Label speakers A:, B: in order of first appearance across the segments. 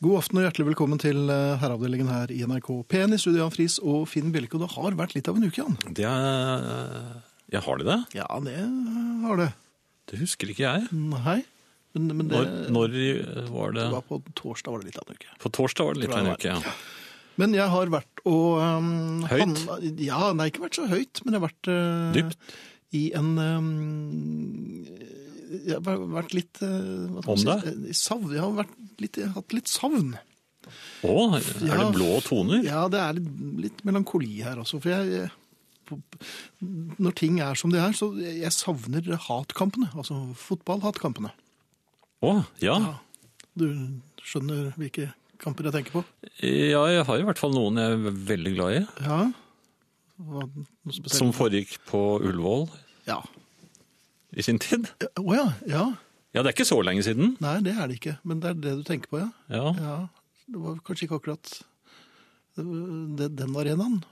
A: God aften og hjertelig velkommen til eh, herreavdelingen her i NRK P1 i studio Jan Friis og Finn Bjelke. Og det har vært litt av en uke, Jan.
B: Det er, jeg har det, det.
A: Ja, det har det.
B: Det husker ikke jeg.
A: Nei. Men, men det,
B: Når, når i- var det
A: det var på torsdag var det litt av en uke.
B: På torsdag var det litt av en uke. ja.
A: Men jeg har vært og um,
B: Høyt?
A: handla- ja, nei, ikke vært så høyt, men jeg har vært eh,
B: Dypt?
A: i en um, Jeg har vært- vært litt eh, hva skal
B: Om
A: man si, eh, Savn. Jeg har vært litt, jeg har hatt litt savn.
B: Å, er det
A: Ja.
B: blå toner?
A: Ja, det er litt, litt melankoli her også, for jeg jeg- når ting er som de er, så jeg savner hatkampene, altså fotballhatkampene.
B: Å, ja.
A: Du skjønner hvilke kamper jeg tenker på?
B: Ja, jeg har i hvert fall noen jeg er veldig glad i.
A: Ja. Hva, noe spesielt?
B: Som foregikk på Ullevål
A: Ja.
B: i sin tid.
A: Å ja, ja.
B: Ja, det er ikke så lenge siden.
A: Nei, det er det ikke. Men det er det du tenker på, ja.
B: Ja,
A: ja det var kanskje ikke akkurat det, den arenaen,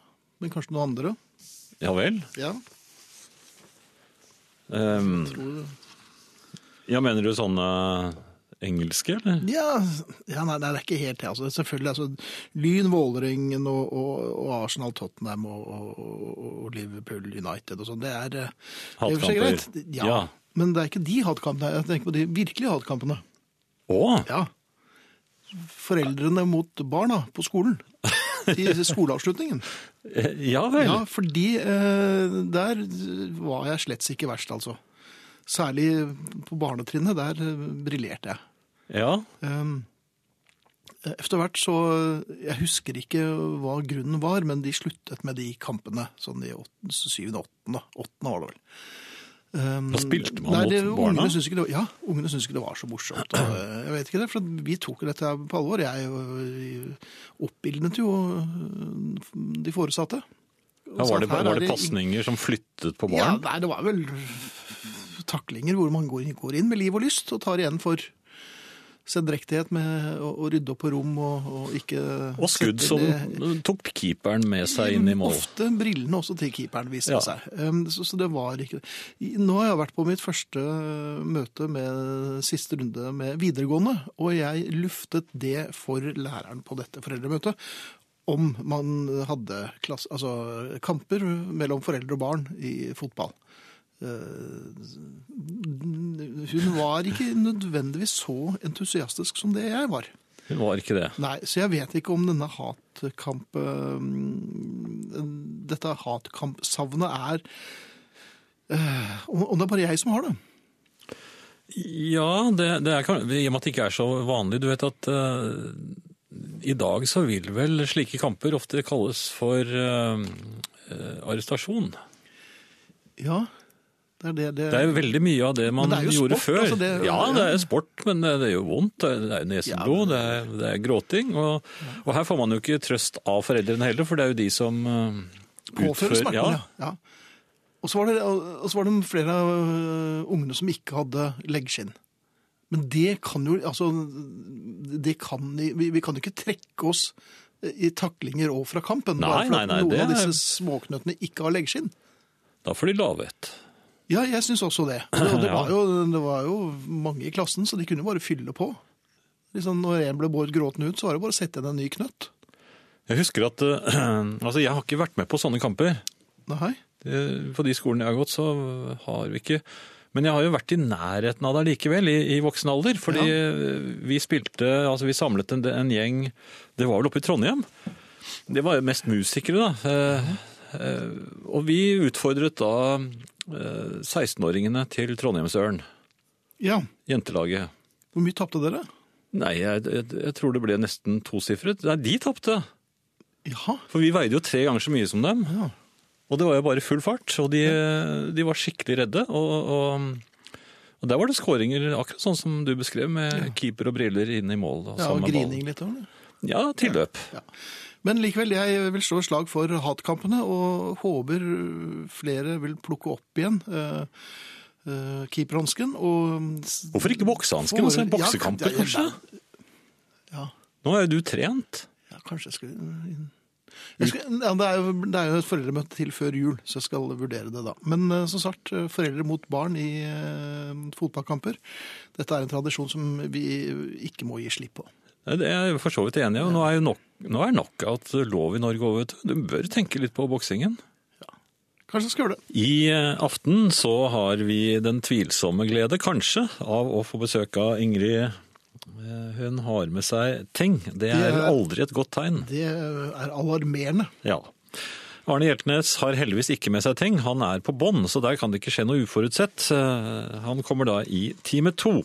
A: men kanskje noen andre.
B: ja vel.
A: Ja,
B: Ehm,
A: tror du.
B: ja, mener du sånne engelske, eller?
A: Ja, ja nei, nei, det er ikke helt det. Altså, selvfølgelig, altså, Lyn, Vålerengen og, og, og Arsenal, Tottenham og, og, og Liverpool United og sånn, det er eh, det er i og for seg
B: Hatkamper.
A: greit. Ja,
B: Ja.
A: men det er ikke de hatkampene. Jeg tenker på de virkelige hatkampene.
B: Å,
A: Ja. Foreldrene mot barna på skolen. I skoleavslutningen.
B: eh, ja vel.
A: Ja, fordi eh, der var jeg slett ikke verst, altså. Særlig på barnetrinnet, der eh, briljerte jeg.
B: Ja,
A: Um, Efter hvert så Jeg husker ikke hva grunnen var, men de sluttet med de kampene sånn i åttende- syvende, åttende. Åttende var det vel. Um,
B: Da spilte man mot
A: det-
B: barna?
A: Ungene syntes ikke, det- ja, ungene syntes ikke det var så morsomt. Og, eh, jeg vet ikke det, for vi tok dette her på alvor. Jeg eh, oppildnet jo eh, de foresatte.
B: ja var det,
A: Sa at her
B: var
A: er
B: det
A: det-
B: pasninger som flyttet på
A: Ja,
B: barn?
A: nei, det var vel taklinger hvor man går, går inn med liv og lyst og tar igjen for sendrektighet med å, å rydde opp på rom og, og ikke
B: Og skudd
A: sette
B: som
A: det-
B: tok keeperen med seg inn i mål.
A: Ofte brillene også til keeperen, viste
B: Ja.
A: det seg. Um, Så, så det var ikke det. I- Nå har jeg vært på mitt første øh, møte med siste runde med videregående, og jeg luftet det for læreren på dette foreldremøtet. Om man hadde klasse, altså kamper mellom foreldre og barn i fotball. Eh, Hun var ikke nødvendigvis så entusiastisk som det jeg var.
B: Hun var ikke det.
A: Nei, så jeg vet ikke om denne hatkamp øhm, Dette hatkampsavnet er øh, Om om det er bare jeg som har det.
B: Ja, det, det er kan- i og med at det ikke er så vanlig. Du vet at eh, i dag så vil vel slike kamper ofte kalles for eh, eh, arrestasjon.
A: Ja, det er det. det,
B: Det er jo veldig mye av det
A: Men
B: man
A: det er jo
B: gjorde
A: sport,
B: før.
A: altså, det-
B: ja, det er sport, men det er jo vondt. Det er jo neseblod,
A: Ja, men-
B: det, er, det er gråting. Og, og her får man jo ikke trøst av foreldrene heller, for det er jo de som eh,
A: påfører
B: utfører
A: smerten.
B: ja,
A: Ja. ja. Og så var det, og så var det flere av øh, ungene som ikke hadde leggskinn. Men det kan jo altså, det kan, vi, vi kan jo ikke trekke oss i taklinger og fra kampen. bare
B: Nei,
A: for at
B: nei, nei,
A: Noen
B: det
A: av
B: er-
A: disse småknøttene ikke har leggskinn.
B: Da får de lavhet.
A: Ja, jeg syns også det. Og det, det,
B: Ja.
A: var jo, det var jo mange i klassen, så de kunne jo bare fylle på. Liksom, når en ble båret gråten ut, så var det bare å sette igjen en ny knøtt.
B: Jeg husker at eh, Altså, jeg har ikke vært med på sånne kamper.
A: Nei.
B: Det- På de skolene jeg har gått, så har vi ikke Men jeg har jo vært i nærheten av det likevel, i, i voksen alder. Fordi vi spilte Altså, vi samlet en, en gjeng Det var vel oppe i Trondheim? Det var jo mest musikere, da. Eh, eh, Og vi utfordret da eh, 16-åringene til Trondheimsøren,
A: Ja.
B: jentelaget.
A: Hvor mye tapte dere?
B: Nei, jeg, jeg, jeg tror det ble nesten tosifret. Nei, de tapte!
A: Jaha.
B: For vi veide jo tre ganger så mye som dem.
A: Ja.
B: Og det var jo bare full fart, og de, de var skikkelig redde. Og, og, og der var det skåringer, akkurat sånn som du beskrev, med keeper og briller inn i mål. Og
A: Ja,
B: sammen
A: og
B: med
A: grining litt. Over det.
B: ballen. Ja, tilløp.
A: Ja. Men likevel, jeg vil slå et slag for hatkampene, og håper flere vil plukke opp igjen eh, eh, keeperhansken og s-
B: Hvorfor ikke boksehansken? Altså,
A: Får-
B: boksekamper,
A: ja, ja, ja,
B: kanskje?
A: Ja.
B: Nå er jo du trent.
A: Ja, kanskje jeg skulle inn. Jeg skulle, ja, det, er jo, det er jo et foreldremøte til før jul, så jeg skal vurdere det da. Men eh, som sagt, eh, foreldre mot barn i eh, fotballkamper. Dette er en tradisjon som vi ikke må gi slipp på.
B: Det er jeg for så vidt enig i. og Nå er jo nok, nå er knockout lov i Norge òg, vet du. Du bør tenke litt på boksingen.
A: Kanskje jeg skal gjøre det.
B: I eh, aften så har vi den tvilsomme glede, kanskje, av å få besøk av Ingrid. Eh, Hun har med seg ting. Det er
A: er-
B: aldri et godt tegn.
A: Det er alarmerende.
B: Ja. Arne Hjeltnes har heldigvis ikke med seg ting. Han er på bånn, så der kan det ikke skje noe uforutsett. Eh, Han kommer da i time to.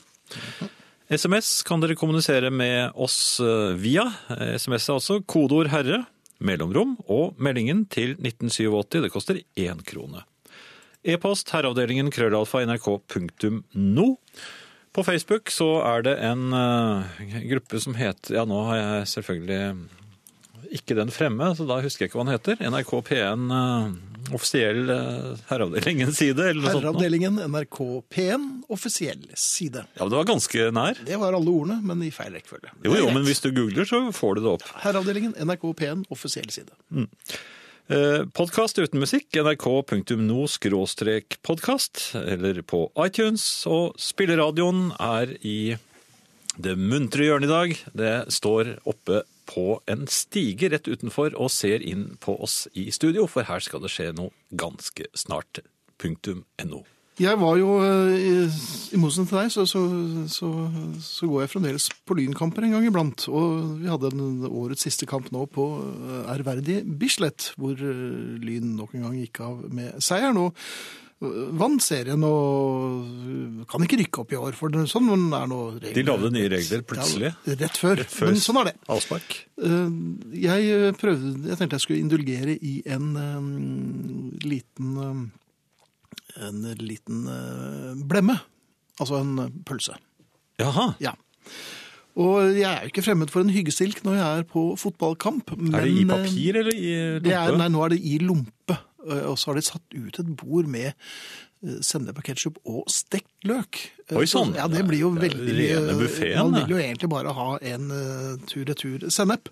B: SMS kan dere kommunisere med oss eh, via. Eh, SMS er altså kodeord 'herre', mellomrom og meldingen til 1987. Det koster én krone. E-post herreavdelingen krøllalfa nrk.no. På Facebook så er det en eh, gruppe som heter Ja, nå har jeg selvfølgelig ikke den fremme, så da husker jeg ikke hva den heter. NRK P1 eh, offisiell uh, herreavdelingens side, eller noe sånt. nå.
A: Herreavdelingen NRK P1, offisiell side.
B: Ja, men det var ganske nær.
A: Det var alle ordene, men i feil rekkefølge.
B: Jo, jo, men hvis du googler, så får du det opp.
A: Herreavdelingen NRK P1, offisiell side.
B: Eh, Podkast uten musikk, nrk.no-podkast, eller på iTunes. Og spilleradioen er i det muntre hjørnet i dag. Det står oppe på en stige rett utenfor og ser inn på oss i studio, for her skal det skje noe ganske snart. Punktum NO.
A: Jeg var jo, eh, i, i motsetning til deg, så, så, så, så går jeg fremdeles på lynkamper en gang iblant. Og vi hadde en, årets siste kamp nå på eh, ærverdige Bislett, hvor eh, Lyn nok en gang gikk av med seieren. Og eh, vant serien og eh, kan ikke rykke opp i år, for det- sånn er nå reglene.
B: De lagde nye regler plutselig.
A: Ja, rett før.
B: før
A: Men sånn er det.
B: Avspark.
A: Eh, Jeg prøvde, jeg tenkte jeg skulle indulgere i en eh, liten eh, en liten eh, blemme. Altså en eh, pølse.
B: Jaha.
A: Ja. Og jeg er jo ikke fremmed for en hyggestilk når jeg er på fotballkamp. Men,
B: Er det i
A: eh,
B: papir eller i
A: Det er,
B: lompe?
A: nei, nå er det i lompe. Eh, Og så har de satt ut et bord med eh, sennep og ketsjup og stekt løk. Eh,
B: Oi,
A: så-
B: sånn.
A: Ja, det blir jo
B: Det er
A: veldig eh,
B: rene buffeten,
A: Man
B: det.
A: vil jo egentlig bare ha en eh, tur-retur sennep.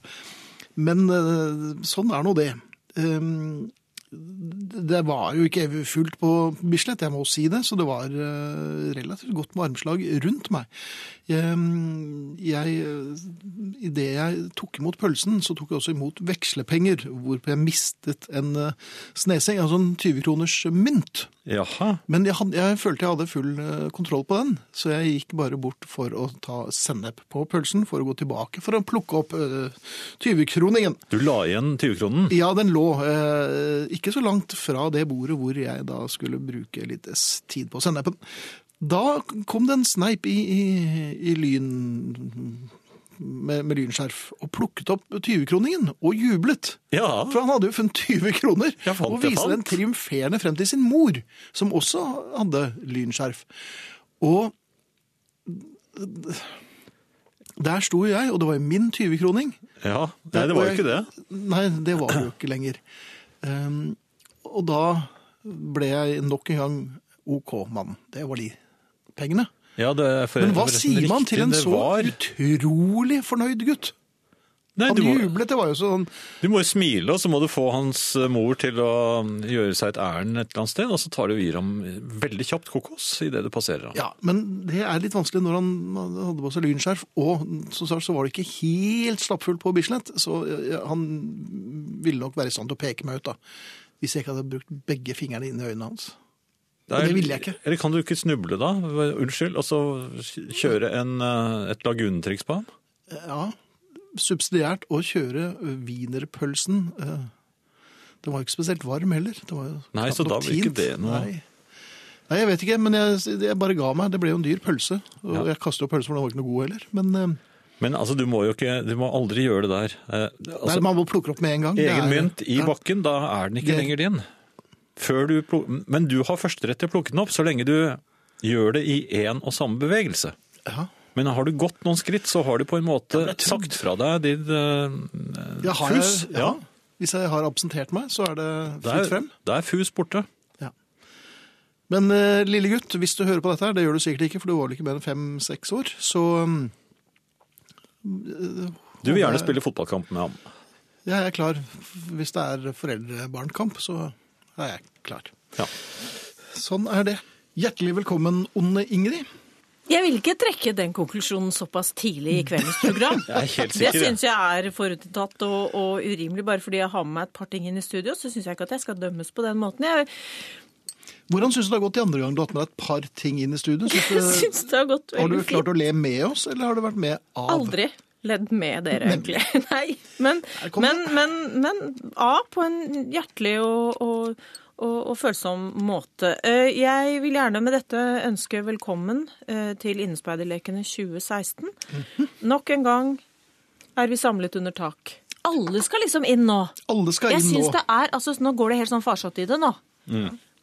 A: Men eh, sånn er nå det. Um, det var jo ikke fullt på Bislett, jeg må si det, så det var eh, relativt godt med armslag rundt meg. Ehm, Jeg, eh, I det jeg tok imot pølsen, så tok jeg også imot vekslepenger, hvorpå jeg mistet en eh, snesing, altså en 20-kroners mynt.
B: Jaha.
A: Men jeg, hadde, jeg følte jeg hadde full eh, kontroll på den, så jeg gikk bare bort for å ta sennep på pølsen, for å gå tilbake for å plukke opp eh, 20-kroningen.
B: Du la igjen 20-kronen?
A: Ja, den lå eh, ikke så langt fra det bordet hvor jeg da skulle bruke litt s- tid på sennepen. Da kom det en sneip i, i, i lyn med, med lynskjerf og plukket opp 20-kroningen og jublet.
B: Ja.
A: For han hadde jo funnet 20 kroner
B: Ja, fant
A: og
B: jeg
A: viste den
B: fant.
A: triumferende frem til sin mor, som også hadde lynskjerf. Og der sto jo jeg, og det var jo min 20-kroning.
B: ja. Nei, det var jo ikke det.
A: Nei, det var det jo ikke lenger. Ehm, og da ble jeg nok en gang OK-mann. Det var de pengene.
B: Ja, det er for,
A: Men hva
B: forresten
A: sier man
B: riktig
A: til en
B: det
A: så
B: var.
A: utrolig fornøyd gutt?
B: Nei,
A: Han
B: du, må,
A: jublet, det var jo sånn
B: du må jo smile, og så må du få hans eh, mor til å um, gjøre seg et ærend et eller annet sted, og så tar du og gir ham eh, veldig kjapt kokos idet du passerer ham.
A: Ja, men det er litt vanskelig når han hadde på seg lynskjerf, og som sagt så var det ikke helt stappfullt på Bislett, så eh, han ville nok være i stand til å peke meg ut da, hvis jeg ikke hadde brukt begge fingrene inn i øynene hans.
B: er-
A: det ville jeg ikke.
B: Eller kan du ikke snuble, da? Unnskyld. Og så kjøre en, eh, et laguntriks på ham?
A: Ja, subsidiært å kjøre wienerpølsen. eh, Den var jo ikke spesielt varm heller. Det var jo
B: Nei,
A: knapt
B: så da
A: nok
B: blir ikke
A: tint.
B: det noe-
A: Nei. Nei, jeg vet ikke, men jeg, jeg bare ga meg. Det ble jo en dyr pølse, og
B: Ja.
A: jeg kastet opp pølsen, for den var ikke noe god heller. Men eh,
B: Men altså, du må jo ikke Du må aldri gjøre det der. Eh, altså,
A: nei, man må plukke opp med en gang. Det
B: Egen
A: er-
B: mynt i
A: ja.
B: bakken, da er den ikke
A: Det-
B: lenger din. Før du plo- Men du har førsterett til å plukke den opp, så lenge du gjør det i én og samme bevegelse.
A: Ja.
B: Men har du gått noen skritt, så har du på en måte sagt fra deg ditt uh,
A: Ja, har jeg,
B: fus.
A: ja. Hvis jeg har absentert meg, så er det
B: Det
A: fritt
B: er,
A: frem.
B: det er fus borte.
A: Ja. Men eh, lille gutt, hvis du hører på dette her, det gjør du sikkert ikke, for du var vel ikke mer enn fem-seks år, så mm,
B: Du vil
A: Håper
B: gjerne
A: jeg-
B: spille fotballkamp med ham.
A: jeg er klar. Hvis det er foreldre-barn-kamp, så er jeg klar.
B: Ja.
A: Sånn er det. Hjertelig velkommen, onde Ingrid.
C: Jeg vil ikke trekke den konklusjonen såpass tidlig i kveldens program.
B: Jeg er helt
C: Det
B: sikker. jeg.
C: syns jeg er forutinntatt og, og urimelig. Bare fordi jeg har med meg et par ting inn i studio, så syns jeg ikke at jeg skal dømmes på den måten. Jeg
A: Hvordan syns du det har gått de andre gangene du har hatt med deg et par ting inn i studio? Synes du,
C: syns det har gått
A: har du
C: veldig fint.
A: klart å le med oss, eller har du vært med av?
C: Aldri ledd med dere, egentlig. Nei. Men,
A: kom
C: men, men, men A, på en hjertelig og, og, og, og følsom måte. Eh, Jeg vil gjerne med dette ønske velkommen eh, til Innespeiderlekene 2016. Nok en gang er vi samlet under tak. Alle skal liksom inn nå.
A: Alle skal
C: Jeg
A: inn nå.
C: synes
A: Mm.
C: det er, altså Nå går det helt sånn farsatt i det nå.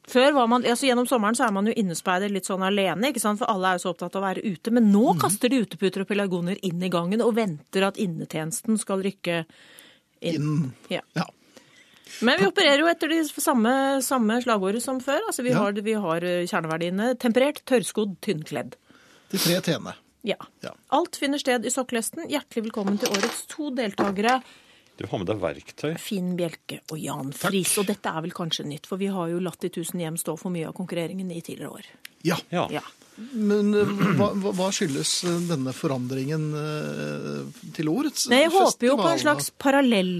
C: Før var man, altså Gjennom sommeren så er man jo innespeider litt sånn alene, ikke sant? for alle er jo så opptatt av å være ute. Men nå
A: Mm.
C: kaster de uteputer og pelargoner inn i gangen og venter at innetjenesten skal rykke inn. Ja.
A: Ja.
C: Men vi opererer jo etter de samme, samme slagordet som før. Altså Vi
A: Ja.
C: har, vi har eh, kjerneverdiene temperert, tørrskodd, tynnkledd.
A: De tre t-ene.
C: Ja.
A: Ja.
C: Alt finner sted i sokkelesten. Hjertelig velkommen til årets to deltakere.
B: Du har med deg verktøy.
C: Finn Bjelke og Jan Friis. Og dette er vel kanskje nytt, for vi har jo latt de tusen hjem stå for mye av konkurreringen i tidligere år.
A: Ja.
B: Ja.
C: Ja.
A: Men eh, hva, hva- hva skyldes eh, denne forandringen eh, til årets
C: Nei, jeg håper jo på
A: festival,
C: en slags parallell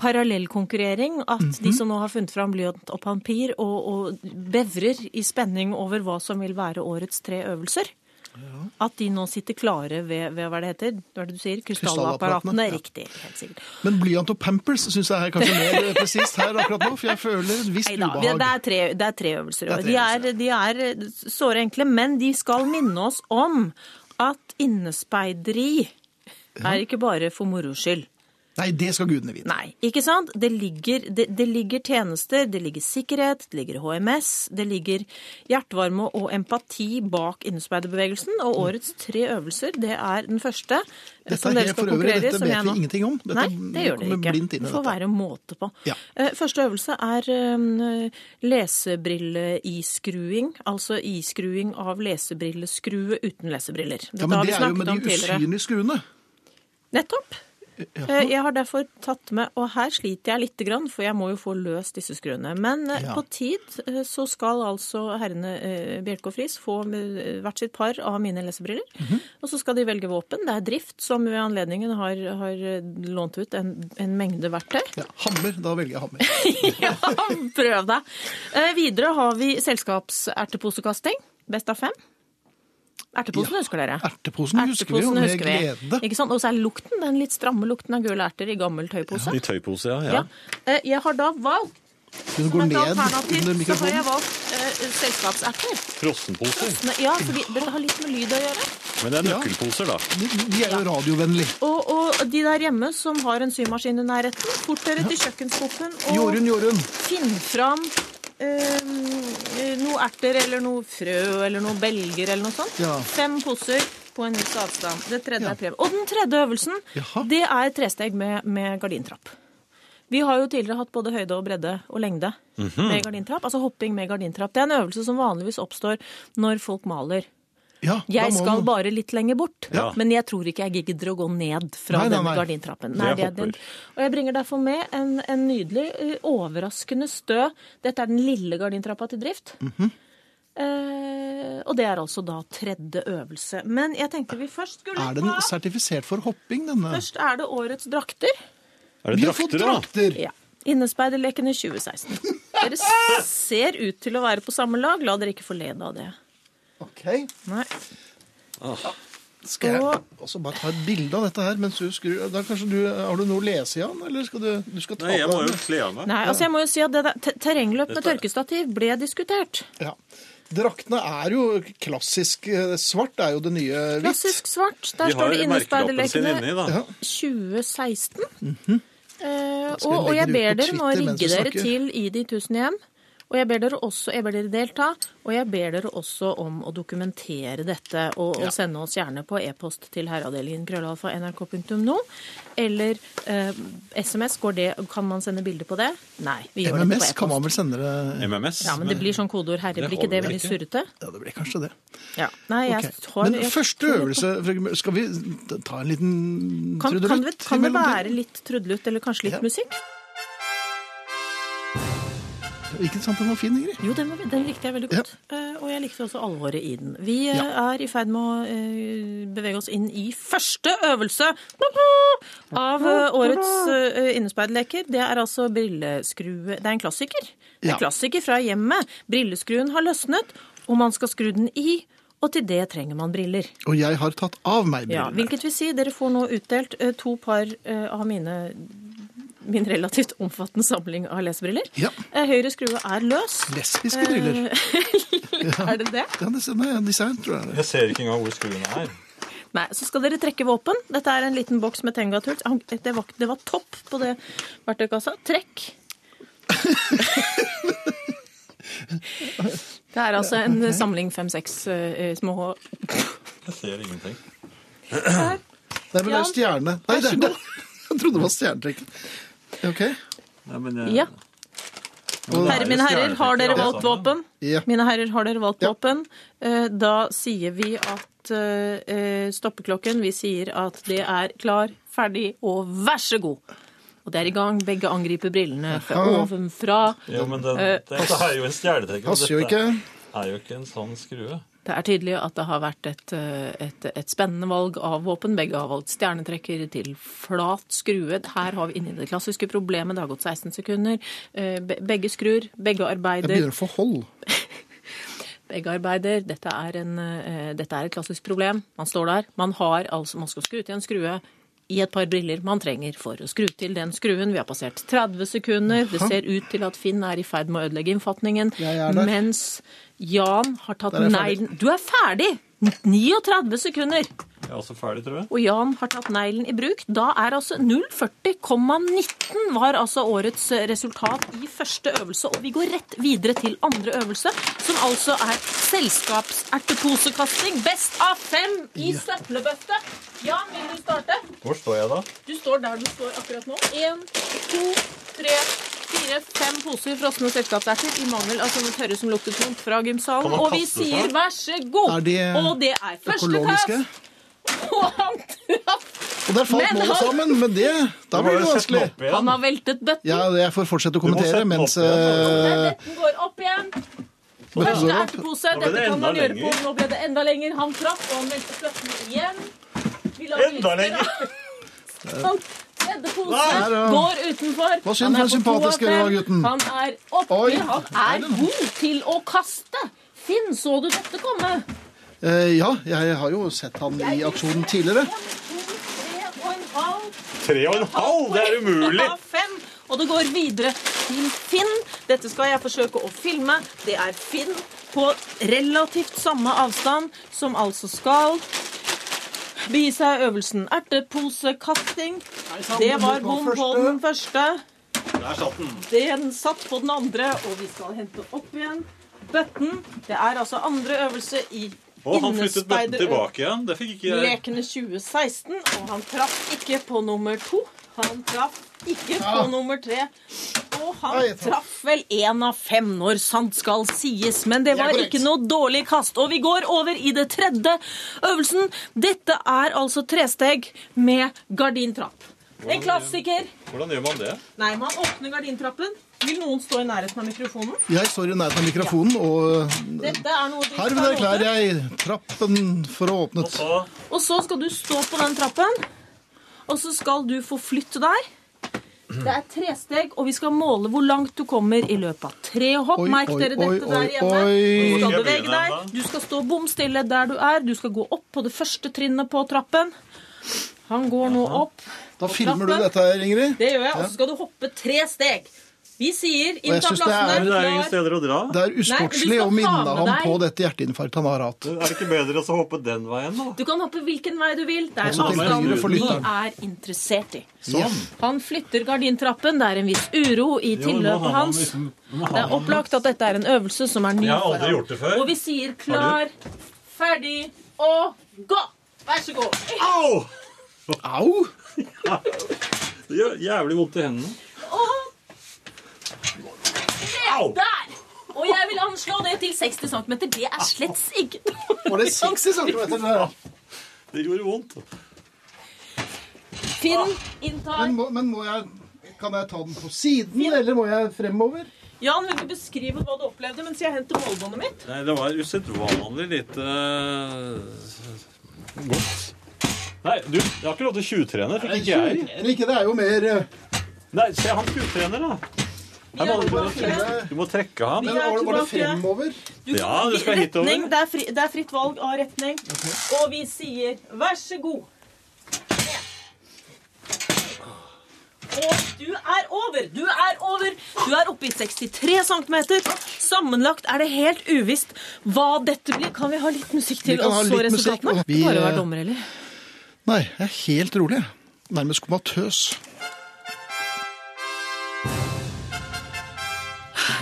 C: parallellkonkurrering. At de som nå har funnet fram blyant og papir og, og bevrer i spenning over hva som vil være årets tre øvelser. At de nå sitter klare ved, ved hva det heter, hva er det du sier, krystallapparatene.
A: Krystallapparatene, ja.
C: Riktig, helt sikkert.
A: da? Men blyant og pampers syns jeg er kanskje mer eh, presist her akkurat nå, for jeg føler et visst
C: Neida, vi-
A: ubehag.
C: Det er tre, det er tre øvelser. i
A: Det er
C: år.
A: tre
C: De er, de er såre enkle, men de skal minne oss om at innespeideri er ikke bare for moro skyld.
A: Nei, det skal gudene vite.
C: Nei, ikke sant? Det ligger, det, det ligger tjenester, det ligger sikkerhet, det ligger HMS, det ligger hjertevarme og empati bak innespeiderbevegelsen. Og årets tre øvelser, det er den første eh,
A: Mm. Dette
C: som
A: er
C: dere
A: helt
C: skal
A: for øvrig,
C: konkurrere i.
A: dette
C: som
A: vet
C: jeg
A: vi
C: nå-
A: ingenting om. Dette-
C: Nei, det gjør
A: vi
C: dere
A: kommer
C: ikke.
A: blindt inn i
C: det får
A: dette.
C: være måte på.
A: Ja.
C: Eh, Første øvelse er eh, lesebrille-iskruing. Altså iskruing av lesebrilleskrue uten lesebriller. Dette
A: Ja, men
C: har vi
A: det er jo
C: snakket
A: med de
C: om tidligere.
A: usynlige skruene.
C: Nettopp.
A: Ja.
C: Eh, Jeg har derfor tatt med, og her sliter jeg lite grann, for jeg må jo få løst disse skruene. Men eh,
A: Ja.
C: på tid eh, så skal altså herrene eh, Bjelke og Friis få eh, hvert sitt par av mine lesebriller.
A: Mhm.
C: Og så skal de velge våpen. Det er drift som ved anledningen har, har eh, lånt ut en, en mengde verktøy.
A: Ja, hammer, da velger jeg hammer.
C: Ja, prøv deg. Eh, Videre har vi selskapserteposekasting. Best av fem. Erteposen
A: Ja.
C: husker dere?
A: Erteposen husker vi jo
C: Erteposen
A: med
C: husker vi.
A: glede.
C: Ikke sant? Og så er lukten, den litt stramme lukten av gule erter i gammel tøypose.
B: I tøypose, ja.
C: Ja.
B: ja.
C: Eh, Jeg har da valgt
A: Hun
C: som
A: går
C: et
A: ned under
C: alternativ så har jeg
A: mikrofonen.
C: valgt eh, selskapserter.
B: Frossenposer.
C: Nei, Ja, fordi dette har litt med lyd å gjøre.
B: Men det er
A: Ja.
B: nøkkelposer, da.
A: De, de er jo radiovennlige.
C: Og, og de der hjemme som har en symaskin i nærheten, fort dere til kjøkkenskuffen og
A: Jorunn, Jorunn.
C: finn fram eh, noe erter eller noe frø eller noen belger eller noe sånt.
A: Ja.
C: Fem poser på en viss avstand. Det tredje
A: Ja.
C: er premie. Og den tredje øvelsen,
A: Jaha.
C: det er tresteg med, med gardintrapp. Vi har jo tidligere hatt både høyde og bredde og lengde
A: Mhm.
C: med gardintrapp. Altså hopping med gardintrapp. Det er en øvelse som vanligvis oppstår når folk maler.
A: Ja, da
C: Jeg
A: må
C: skal
A: man-
C: bare litt lenger bort,
B: Ja.
C: men jeg tror ikke jeg gidder å gå ned fra
A: Nei, nei,
C: den
A: nei.
C: gardintrappen.
B: Jeg
C: det er den.
B: hopper.
C: Og jeg bringer derfor med en, en nydelig, eh, overraskende stø. Dette er den lille gardintrappa til drift. eh, og det er altså da tredje øvelse. Men jeg tenkte vi først skulle
A: Er den
C: ta
A: sertifisert for hopping, denne?
C: Først er det årets drakter.
B: Er det
A: Vi har fått
B: drakter, da?
A: drakter!
C: Ja. Innespeiderlekene 2016. Dere ser ut til å være på samme lag. La dere ikke forlede av det.
A: Ok,
C: Nei.
A: skal jeg
C: Og-
A: også bare ta et bilde av dette her mens du skrur da kanskje du, Har du noe å lese, Jan? Eller skal du, du skal ta
B: Nei, jeg
A: på
B: må jo
A: den?
B: kle av meg.
C: Nei, altså jeg må jo si at det der, te- Terrengløp med
B: Dette-
C: tørkestativ ble diskutert.
A: Ja. Draktene er jo klassisk eh, Svart er jo det nye hvitt.
C: Klassisk svart. Der
B: De har
C: står det
B: merkelappen sin inni,
C: Innespeiderlekene
B: da.
A: Ja.
C: 2016. Eh,
A: Mhm. Skal vi
C: og, og
A: legge
C: jeg
A: det ut på
C: ber dere nå
A: Twitter mens vi
C: rigge dere
A: snakker?
C: til i de tusen hjem. Og jeg ber dere også jeg ber dere delta, og jeg ber dere også om å dokumentere dette. Og, og sende oss gjerne på e-post til herreavdelingen krøllalfa nrk.no. Eller eh, SMS. Går det, kan man sende bilde på det? Nei. vi gjør det på
A: MMS
C: e-post.
A: kan man vel sende det
B: MMS.
C: Ja, men det blir sånn kodeord. Herre,
B: Det
C: blir ikke det
B: holder
C: veldig
B: ikke.
C: surrete?
A: Ja, det blir kanskje det.
C: Ja. Nei, jeg
A: Ok.
C: har,
A: Men
C: jeg
A: første
C: tror-
A: øvelse Frøken Mø- Skal vi ta en liten
C: Kan, kan, det,
A: trudelutt?
C: kan det
A: imellom
C: være litt trudelutt, eller kanskje litt
A: Ja.
C: musikk?
A: det? Ikke sant den var fin, Ingrid?
C: Jo, den, var- den likte jeg veldig godt. Eh, og jeg likte også alvoret i den. Vi eh, er i ferd med å eh, bevege oss inn i første øvelse av eh, årets uh, innespeiderleker. Det er altså brilleskrue Det er en klassiker. Det er
A: Ja.
C: En klassiker fra hjemmet. Brilleskruen har løsnet, og man skal skru den i. Og til det trenger man briller.
A: Og jeg har tatt av meg
C: Ja,
A: brillene.
C: hvilket vil si dere får nå utdelt eh, to par eh, av mine min relativt omfattende samling av lesebriller.
A: Ja.
C: Eh, Høyre skrue er løs. Eh,
A: Lesbiske briller.
C: er det det?
A: Ja, det stemmer. Ja, Design, tror jeg. det er.
B: Jeg ser ikke engang hvor skruene er.
C: Nei, så skal dere trekke våpen. Dette er en liten boks med tengatull. Han- Det var, det var topp på det verktøykassa. Trekk. Det er altså en eh, samling fem-seks eh, små
B: Jeg ser ingenting.
A: Nei, men det
C: Ja.
A: er stjerne. Nei, det er det. Jeg trodde det var stjernetrekk. Ok.
B: Nei, men eh, jeg...
C: Ja.
B: Men det er
C: Herre,
B: jo
C: mine herrer, har dere
B: stjernetrekk,
C: valgt
B: ja.
C: våpen?
A: Ja.
C: Mine herrer, har dere valgt
A: Ja.
C: våpen? Eh, Da sier vi at eh, eh, stoppeklokken, vi sier at det er klar, ferdig og vær så god. Og det er i gang. Begge angriper brillene fra
A: Aha.
C: ovenfra.
B: Jo, men den, dette er jo en stjernetrekk. og
A: Eh, Passer jo
B: dette
A: ikke.
B: er jo ikke en sånn skrue.
C: Det er tydelig at det har vært et, eh, et, et spennende valg av våpen. Begge har valgt stjernetrekker til flat skrue. Her har vi inne i det klassiske problemet. Det har gått 16 sekunder. Eh, be- Begge skrur, begge
A: Jeg
C: arbeider.
A: begynner å få hold.
C: Begge arbeider. Dette er, en, eh, dette er et klassisk problem. Man står der. Man har altså Man skal skru til en skrue i et par briller man trenger for å skru til den skruen. Vi har passert 30 sekunder. Det ser ut til at Finn er i ferd med å ødelegge innfatningen.
A: Jeg er der.
C: Mens Jan har tatt
A: Der er jeg ferdig.
C: neglen Du er ferdig! 39 sekunder!
B: Jeg er også ferdig, tror jeg.
C: Og Jan har tatt neglen i bruk. Da er altså 040,19 var altså årets resultat i første øvelse. Og vi går rett videre til andre øvelse, som altså er selskapserteposekasting. Best av fem i søppelbøtte. Jan, vil du starte?
B: Hvor står jeg da?
C: Du står der du står akkurat nå. Én, to, tre, fire, fem poser frosne selskapserter i mangel av sånne tørre som lukter tungt fra
B: Kan
C: gymsalen.
B: man
C: Og vi
B: kaste
C: sier
B: seg?
C: vær så god!
A: Er de
C: Og det er første
A: Økologiske.
C: kast! Og han traff
A: Og der falt
C: Men
A: målet
C: han-
A: sammen, men det Da blir det vanskelig.
C: Han har veltet bøtten.
A: Ja, jeg får fortsette å
B: må sette
A: kommentere
B: den
A: mens
B: opp igjen,
A: eh,
C: Der Bøtten går opp igjen.
A: mens
C: Første
A: det går opp.
C: ertepose.
B: Nå ble det
C: Dette kan
B: enda
C: man gjøre på.
B: lenger.
C: Nå ble det enda lenger. Han traff, og han veltet bøtten igjen. Vi lager
B: Enda
C: lister
B: lenger.
C: av- Sånn. Tredje
A: Nei,
C: pose
A: da.
C: går utenfor.
A: Hva synd
C: Han er
A: for en
C: på
A: sympatisk
C: to av fem.
A: gutt, gutten.
C: Han er oppi.
A: Oi.
C: Han
A: Nei,
C: er
A: den-
C: god til å kaste. Finn, så du dette komme?
A: Eh, Ja, jeg har jo sett han i aksjonen tidligere.
C: En, to, tre og en halv.
B: Tre og en halv! Det er umulig!
C: Ja, fem. Og det går videre til Finn. Dette skal jeg forsøke å filme. Det er Finn på relativt samme avstand, som altså skal begi seg øvelsen erteposekasting. Det var bom på den første.
B: Der satt den.
C: Den satt på den andre, og vi skal hente opp igjen bøtten. Det er altså andre øvelse i
B: Og han flyttet bøtten
C: innespeiderø-
B: tilbake igjen. Det fikk ikke jeg.
C: Lekene 2016, og han traff ikke på nummer to. Han traff ikke på nummer tre. Og
A: Nei,
C: han
A: jeg traff.
C: traff vel én av fem, når sant skal sies. Men det
A: Det er
C: var
A: korrekt.
C: ikke noe dårlig kast. Og vi går over i det tredje øvelsen. Dette er altså tresteg med gardintrapp. En klassiker.
B: Hvordan gjør man det?
C: Nei, man åpner gardintrappen. Vil noen stå i nærheten av mikrofonen?
A: Jeg står i nærheten av mikrofonen, og eh,
C: Dette er noe de
A: herved
C: skal
A: erklærer
C: love.
A: jeg trappen for å åpnet.
B: Så
C: Og så skal du stå på den trappen, og så skal du forflytte deg. Det er tre steg, og vi skal måle hvor langt du kommer i løpet av tre hopp.
A: Oi,
C: Merk
A: oi,
C: dere
A: oi,
C: dette
A: oi,
C: der hjemme.
A: oi.
C: Du
B: Skal
C: skal
B: jeg
C: bevege
B: begynne
C: deg.
B: ennå?
C: Du skal stå bom stille der du er. Du skal gå opp på det første trinnet på trappen. Han går nå opp.
A: Da
C: på
A: filmer du
C: trappen.
A: dette her, Ingrid.
C: Det gjør jeg. Og så skal du hoppe tre steg. Vi sier inn
A: jeg
C: fra
A: synes det
B: Men det er jo
C: plassene.
B: ingen
C: Klar.
B: steder å dra.
A: Det er
C: Nei,
A: usportslig
C: men
A: å
C: du skal ta
A: minne
C: med
A: ham
C: deg-
A: på dette hjerteinfarktet han har hatt.
B: Er det ikke bedre å hoppe den veien, da?
C: Du kan hoppe hvilken vei du vil. Det er
A: Også til
C: avstanden
A: høyre for
C: vi
A: lytteren.
C: er interessert i.
B: Sånn.
C: Han flytter gardintrappen. Det er en viss uro i tilløpet hans.
B: liksom
C: Det er opplagt at dette er en øvelse som er ny
B: Jeg har
C: for
B: aldri
C: ham.
B: gjort det før.
C: Og vi sier klar, ferdig og gå! Vær så god.
B: Au!
A: Au!
B: Det gjør jævlig vondt i hendene.
C: Og
B: Au!
C: der! Og jeg vil anslå det til 60 cm. Det er slett ikke
A: Var det
C: Sånn.
A: 60 cm?
B: Det gjorde vondt.
C: Finn inntar
A: Men, må, men må jeg, kan jeg ta den på siden, eller må jeg fremover?
C: Jan, vil du beskrive hva du opplevde mens jeg henter målbåndet mitt?
B: Nei, det var usedvanlig lite eh, godt. Nei, du, jeg har ikke lov til å tjuvtrene. Fikk ikke jeg.
A: Eller ikke, det er jo mer eh,
B: Nei, se, han tjuvtrener, da. Her må du,
A: eh,
C: tilbake.
B: du må trekke han.
A: men Var var det
C: tilbake.
A: fremover?
C: Du
B: Ja,
C: kan-
B: du skal hitover.
C: retning, Det er, fri, det er fritt valg av retning.
A: Mhm.
C: Og vi sier vær så god. Og du er over! Du er over! Du er oppe i 63 cm. Sammenlagt er det helt uvisst hva dette blir. Kan vi ha litt musikk
A: Vi
C: til,
A: kan
C: og
A: ha
C: så
A: litt musikk,
C: resultatene?
A: og vi,
C: Bare å
A: eh,
C: være dommer, eller?
A: Nei, jeg er helt rolig. Nærmest komatøs.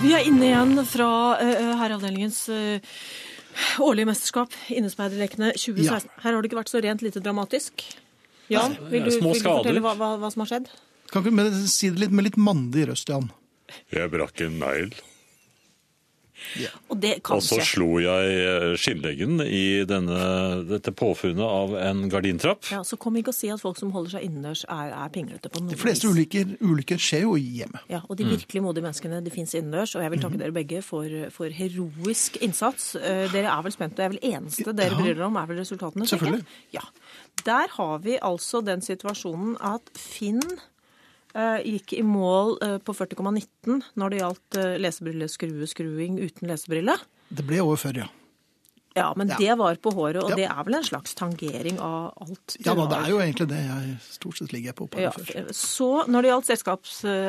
C: Vi er inne igjen fra eh, herreavdelingens eh, årlige mesterskap, Innespeiderlekene 2016. Her har det ikke vært så rent lite dramatisk. Jan, vil du,
B: små
C: vil du
B: skader.
C: fortelle hva, hva, hva som har skjedd?
A: Kan ikke men si det litt med litt mandig røst, Jan?
D: Jeg brakk en negl,
C: Og det
B: Og
C: kan
B: så
C: skje.
B: slo jeg eh, skinnleggen i denne, dette påfunnet av en gardintrapp.
C: Ja, så kom ikke og si at folk som holder seg innendørs, er, er pinglete på noe
A: De fleste
C: vis.
A: ulykker, ulykker skjer jo i hjemmet.
C: Ja, og de virkelig modige menneskene det fins innendørs. Og jeg vil
A: Mm-hmm.
C: takke dere begge for, for heroisk innsats. Eh, Dere er vel spente. Det er vel eneste dere bryr dere om, er vel resultatene? tenker jeg.
A: Selvfølgelig.
C: Ja. Der har vi altså den situasjonen at Finn eh, gikk i mål eh, på 40,19 når det gjaldt eh, lesebrilleskrue-skruing uten lesebrille.
A: Det ble over før, ja.
C: Ja, men
A: Ja.
C: det var på håret, og
A: Ja.
C: det er vel en slags tangering av alt.
A: Ja da,
C: du
A: det
C: har.
A: er jo egentlig det jeg stort sett ligger på. Ja,
C: Ja,
A: før.
C: så når det gjaldt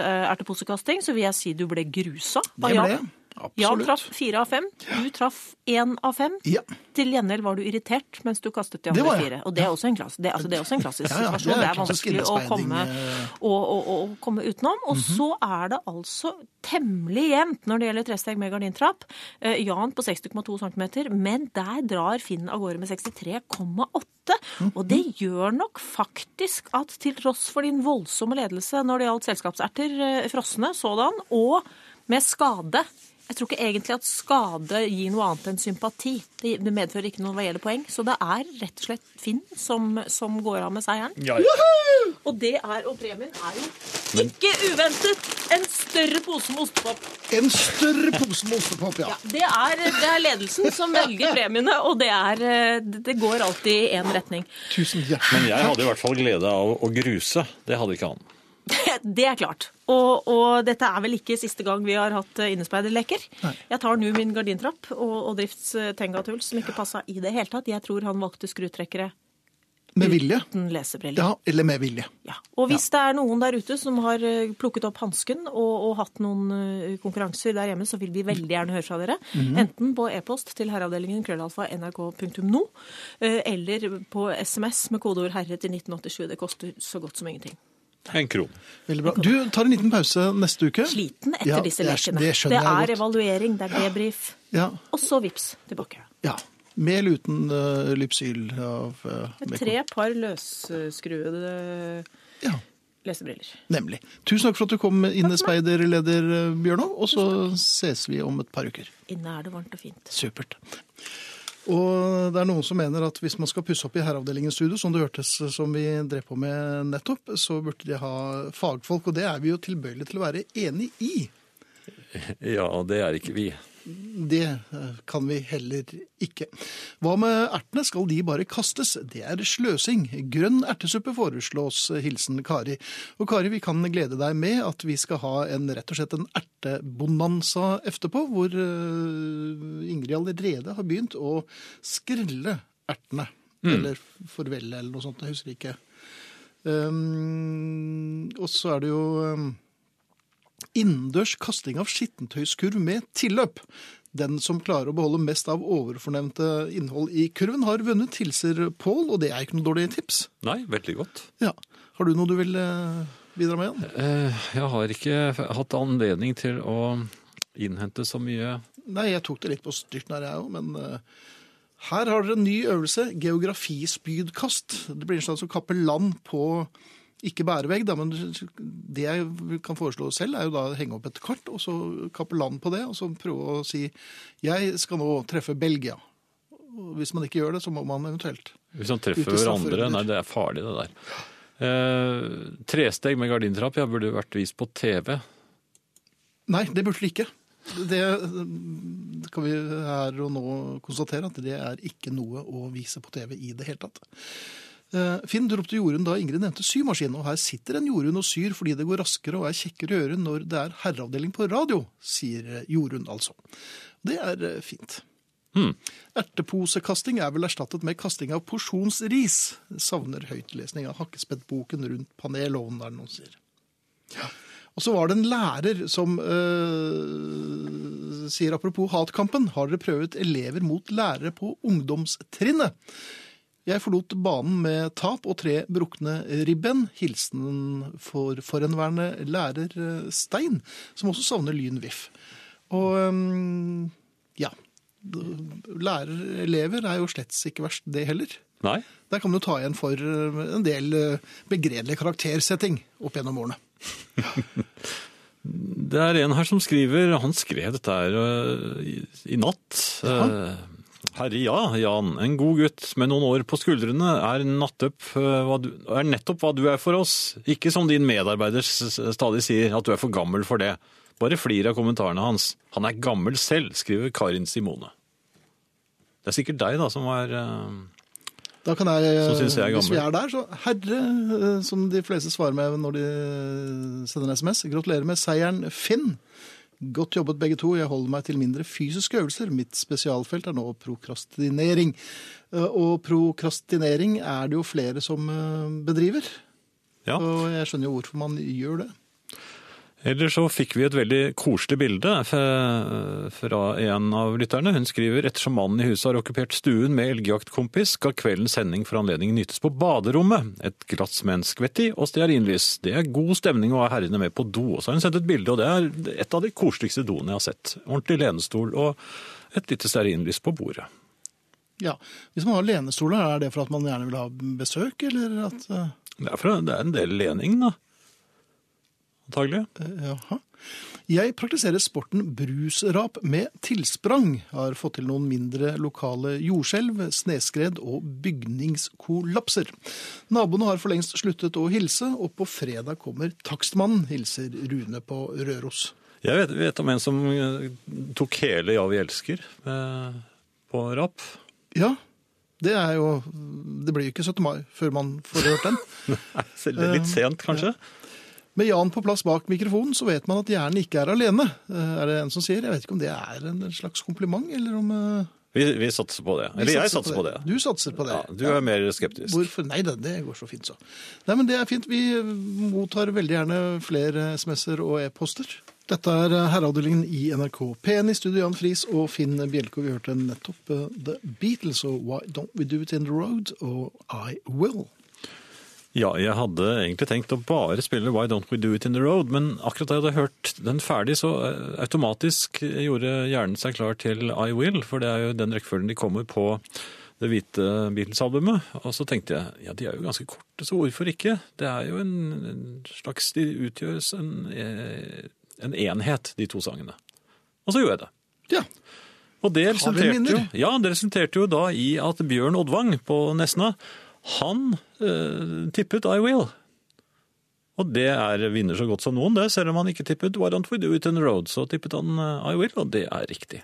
C: selskapserteposekasting, så vil jeg si du ble grusa. av
A: Det ble
C: Jan.
A: jeg.
C: Jan traff
A: Absolutt.
C: fire av fem, du traff én av fem.
A: Ja.
C: Til gjengjeld var du irritert mens du kastet de
A: Det
C: andre
A: var jeg.
C: fire. Og det er også en, klass, det, er- altså, det er også en klassisk
A: Ja, ja, det er
C: situasjon. Det er,
A: klassisk eh,
C: vanskelig å
A: innespeiding,
C: komme, å, å, å komme utenom. Og så er det altså temmelig jevnt når det gjelder tresteg med gardintrapp. Eh, Jan på 60,2 cm, men der drar Finn av gårde med 63,8. Og det gjør nok faktisk at til tross for din voldsomme ledelse når det gjaldt selskapserter, eh, frosne sådan, og med skade jeg tror ikke egentlig at skade gir noe annet enn sympati. Det det medfører ikke noe hva gjelder poeng. Så det er rett og slett Finn som, som går av med seieren. Og det er, og premien er jo ikke uventet en større pose med ostepop.
A: En større pose med ostepop, ja.
C: Ja, det, er, det er ledelsen som velger premiene, og det, er, eh, det det går alltid i én retning.
A: Tusen hjertelig.
B: Men jeg hadde i hvert fall glede av å gruse. Det hadde ikke han.
C: Det er klart. Og, og dette er vel ikke siste gang vi har hatt eh, innespeiderleker. Jeg tar nå min gardintrapp og, og Drifts eh, tengatull, som ikke passa i det hele tatt. Jeg tror han valgte skrutrekkere
A: Med vilje.
C: uten lesebriller.
A: Ja, eller med vilje.
C: Ja. Og hvis det er noen der ute som har eh, plukket opp hansken og, og hatt noen eh, konkurranser der hjemme, så vil vi veldig gjerne høre fra dere.
A: Mhm.
C: Enten på e-post til herreavdelingen krøllalfa nrk.no, eh, eller på SMS med kodeord 'herre' til 1987. Det koster så godt som ingenting.
B: En kron.
A: Veldig bra. Du tar en liten pause neste uke.
C: Sliten etter
A: Ja,
C: disse
A: det er-
C: lekene.
A: Det skjønner
C: er
A: jeg godt.
C: evaluering, det er debrief.
A: Ja,
C: Og så vips tilbake.
A: ja. Med eller uten eh, lypsyl av eh,
C: Med
A: Mekon.
C: tre par løsskruede
A: Ja,
C: lesebriller.
A: nemlig. Tusen takk for at du kom, innespeiderleder eh, Bjørnov, og så ses vi om et par uker.
C: Inne er det varmt og fint.
A: Supert. Og det er noen som mener at hvis man skal pusse opp i herreavdelingens studio, som det hørtes eh, som vi drev på med nettopp, så burde de ha fagfolk, og det er vi jo tilbøyelige til å være enig i.
B: Ja, det er ikke vi.
A: Det eh, kan vi heller ikke. Hva med ertene, skal de bare kastes? Det er sløsing. Grønn ertesuppe foreslås, hilsen Kari. Og Kari, vi kan glede deg med at vi skal ha en, rett og slett en ertebonanza etterpå, hvor eh, Ingrid allerede har begynt å skrelle ertene. Eller forvelle, eller noe sånt, jeg husker ikke. Um, og så er det jo um, Innendørs kasting av skittentøyskurv med tilløp. Den som klarer å beholde mest av overfornevnte innhold i kurven, har vunnet, hilser Pål, og det er ikke noe dårlig tips.
B: Nei, veldig godt.
A: Ja. Har du noe du vil eh, bidra med, Jan?
B: Eh, Jeg har ikke hatt anledning til å innhente så mye
A: Nei, jeg tok det litt på styrten her, jeg òg, men eh, her har dere en ny øvelse. Geografispydkast. Det blir en slags å kappe land på ikke bærevegg, da, men det jeg kan foreslå selv, er jo da å henge opp et kart, og så kappe land på det, og så prøve å si jeg skal nå treffe Belgia. Og Hvis man ikke gjør det, så må man eventuelt.
B: Hvis han
A: Ute
B: treffer
A: i
B: hverandre
A: strafferunder.
B: Nei, det er farlig, det der. Eh, tresteg med gardintrapp. Jeg burde vært vist på TV.
A: Nei, det burde det ikke. det kan vi her og nå konstatere at det er ikke noe å vise på TV i det hele tatt. Eh, Finn dropte jorden da Ingrid nevnte symaskin, og her sitter en Jorunn og syr fordi det går raskere og er kjekkere å gjøre når det er herreavdeling på radio, sier Jorunn altså. Det er eh, fint.
B: Hmm.
A: Erteposekasting er vel erstattet med kasting av porsjonsris. Savner høytlesning av Hakkespettboken rundt panelovnen, er det noen sier. Og så var det en lærer som øh, sier apropos hatkampen, har dere prøvet elever mot lærere på ungdomstrinnet? Jeg forlot banen med tap og tre brukne ribben. Hilsen for forhenværende lærer øh, Stein, som også savner Lyn VIF. Og øhm, ja, lærerelever er jo slett ikke verst det heller.
B: Nei.
A: Der kan du ta igjen for øh, en del øh, begredelig karaktersetting opp gjennom årene.
B: Det er en her som skriver, han skrev dette her øh, i, i natt. Eh, Herre ja, Jan. En god gutt med noen år på skuldrene er, nattopp, øh, hva du, er nettopp hva du er for oss. Ikke som din medarbeider s- stadig sier, at du er for gammel for det. Bare flir av kommentarene hans. Han er gammel selv, skriver Karin Simone. Det er sikkert deg da som er øh,
A: Da kan jeg,
B: Som synes jeg er
A: Hvis vi er
B: gammel.
A: der, så herre, eh, som de fleste svarer med når de eh, sender en SMS. Gratulerer med seieren, Finn. Godt jobbet begge to. Jeg holder meg til mindre fysiske øvelser. Mitt spesialfelt er nå prokrastinering. Eh, Og prokrastinering er det jo flere som eh, bedriver.
B: Ja.
A: Og jeg skjønner jo hvorfor man gjør det.
B: Eller så fikk vi et veldig koselig bilde fra fra en av lytterne. Hun skriver ettersom mannen i huset har okkupert stuen med elgjaktkompis, skal kveldens sending for anledningen nytes på baderommet. Et glass med en skvett i og stearinlys. Det er god stemning å ha herrene med på do. Og så har hun sendt et bilde, og det er et av de koseligste doene jeg har sett. Ordentlig lenestol og et lite stearinlys på bordet.
A: Ja. Hvis man har lenestoler, er det for at man gjerne vil ha besøk, eller at eh,
B: Det er, fra, det er en del lening, da. Antagelig.
A: Jaha. Jeg praktiserer sporten brusrap med tilsprang. Har fått til noen mindre lokale jordskjelv, sneskred og bygningskollapser. Naboene har for lengst sluttet å hilse, og på fredag kommer takstmannen, hilser Rune på Røros.
B: Jeg vet, vet om en som eh, tok hele Ja, vi elsker eh, på rap.
A: Ja, det er jo Det blir jo ikke 17. mai før man får hørt den.
B: Så det er Litt sent, kanskje?
A: Med Jan på plass bak mikrofonen, så vet man at hjernen ikke er alene. Eh, Er det en som sier? Jeg vet ikke om det er en slags kompliment, eller om eh,
B: Vi, vi satser på det.
A: vi
B: Eller jeg satser på det.
A: Du satser på det.
B: Ja, du er mer skeptisk.
A: Hvorfor? Nei da, det går så fint så. Nei, men det er fint. Vi mottar veldig gjerne flere SMS-er og e-poster. Dette er eh, herreavdelingen i NRK P1 i studio Jan Friis og Finn Bjelke. Vi hørte nettopp eh, The Beatles og Why Don't We Do It In The Road og I Will.
B: Ja, jeg hadde egentlig tenkt å bare spille Why Don't We Do It In The Road, men akkurat da jeg hadde hørt den ferdig, så eh, automatisk gjorde hjernen seg klar til I Will, for det er jo den rekkefølgen de kommer på det hvite Beatles-albumet. Og så tenkte jeg, ja, de er jo ganske korte, så hvorfor ikke? Det er jo en, en slags, de utgjør en, eh, en enhet, de to sangene. Og så gjorde jeg det.
A: Ja,
B: Og det
A: Har vi
B: resulterte, jo,
A: minner?
B: ja, det resulterte jo da i at Bjørn Oddvang på Nesna, han eh, tippet I Will. Og det er vinner så godt som noen, det. Selv om han ikke tippet Why Don't We Do It On The Road, så tippet han eh, I Will, og det er riktig.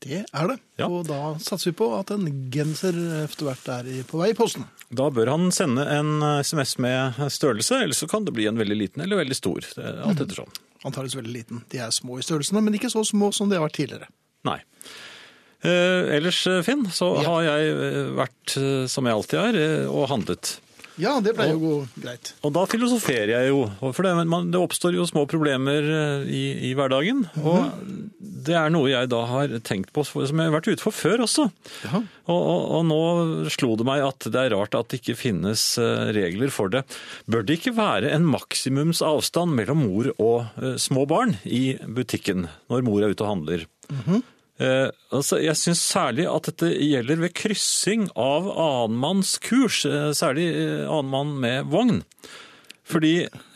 A: det er det.
B: Ja.
A: Og da satser vi på at en genser etter hvert er i- på vei i posten.
B: Da bør han sende en eh, SMS med størrelse, ellers så kan det bli en veldig liten eller veldig stor. Det er
A: Mhm.
B: Alt ettersom.
A: Antakeligvis veldig liten. De er små i størrelsene, men ikke så små som de har vært tidligere.
B: Nei. Eh, ellers, eh, Finn, så
A: Ja.
B: har jeg eh, vært eh, som jeg alltid er, eh, og handlet.
A: Ja, det pleier jo å gå greit.
B: Og da filosoferer jeg jo, for det, man, det oppstår jo små problemer eh, i, i hverdagen. Og det er noe jeg da har tenkt på, som jeg har vært ute for før også.
A: Ja.
B: Og, og, og nå slo det meg at det er rart at det ikke finnes eh, regler for det. Bør det ikke være en maksimums avstand mellom mor og eh, små barn i butikken når mor er ute og handler?
A: Mhm.
B: Eh, altså, jeg syns særlig at dette gjelder ved kryssing av annenmanns kurs, eh, særlig eh, annenmann med vogn. Fordi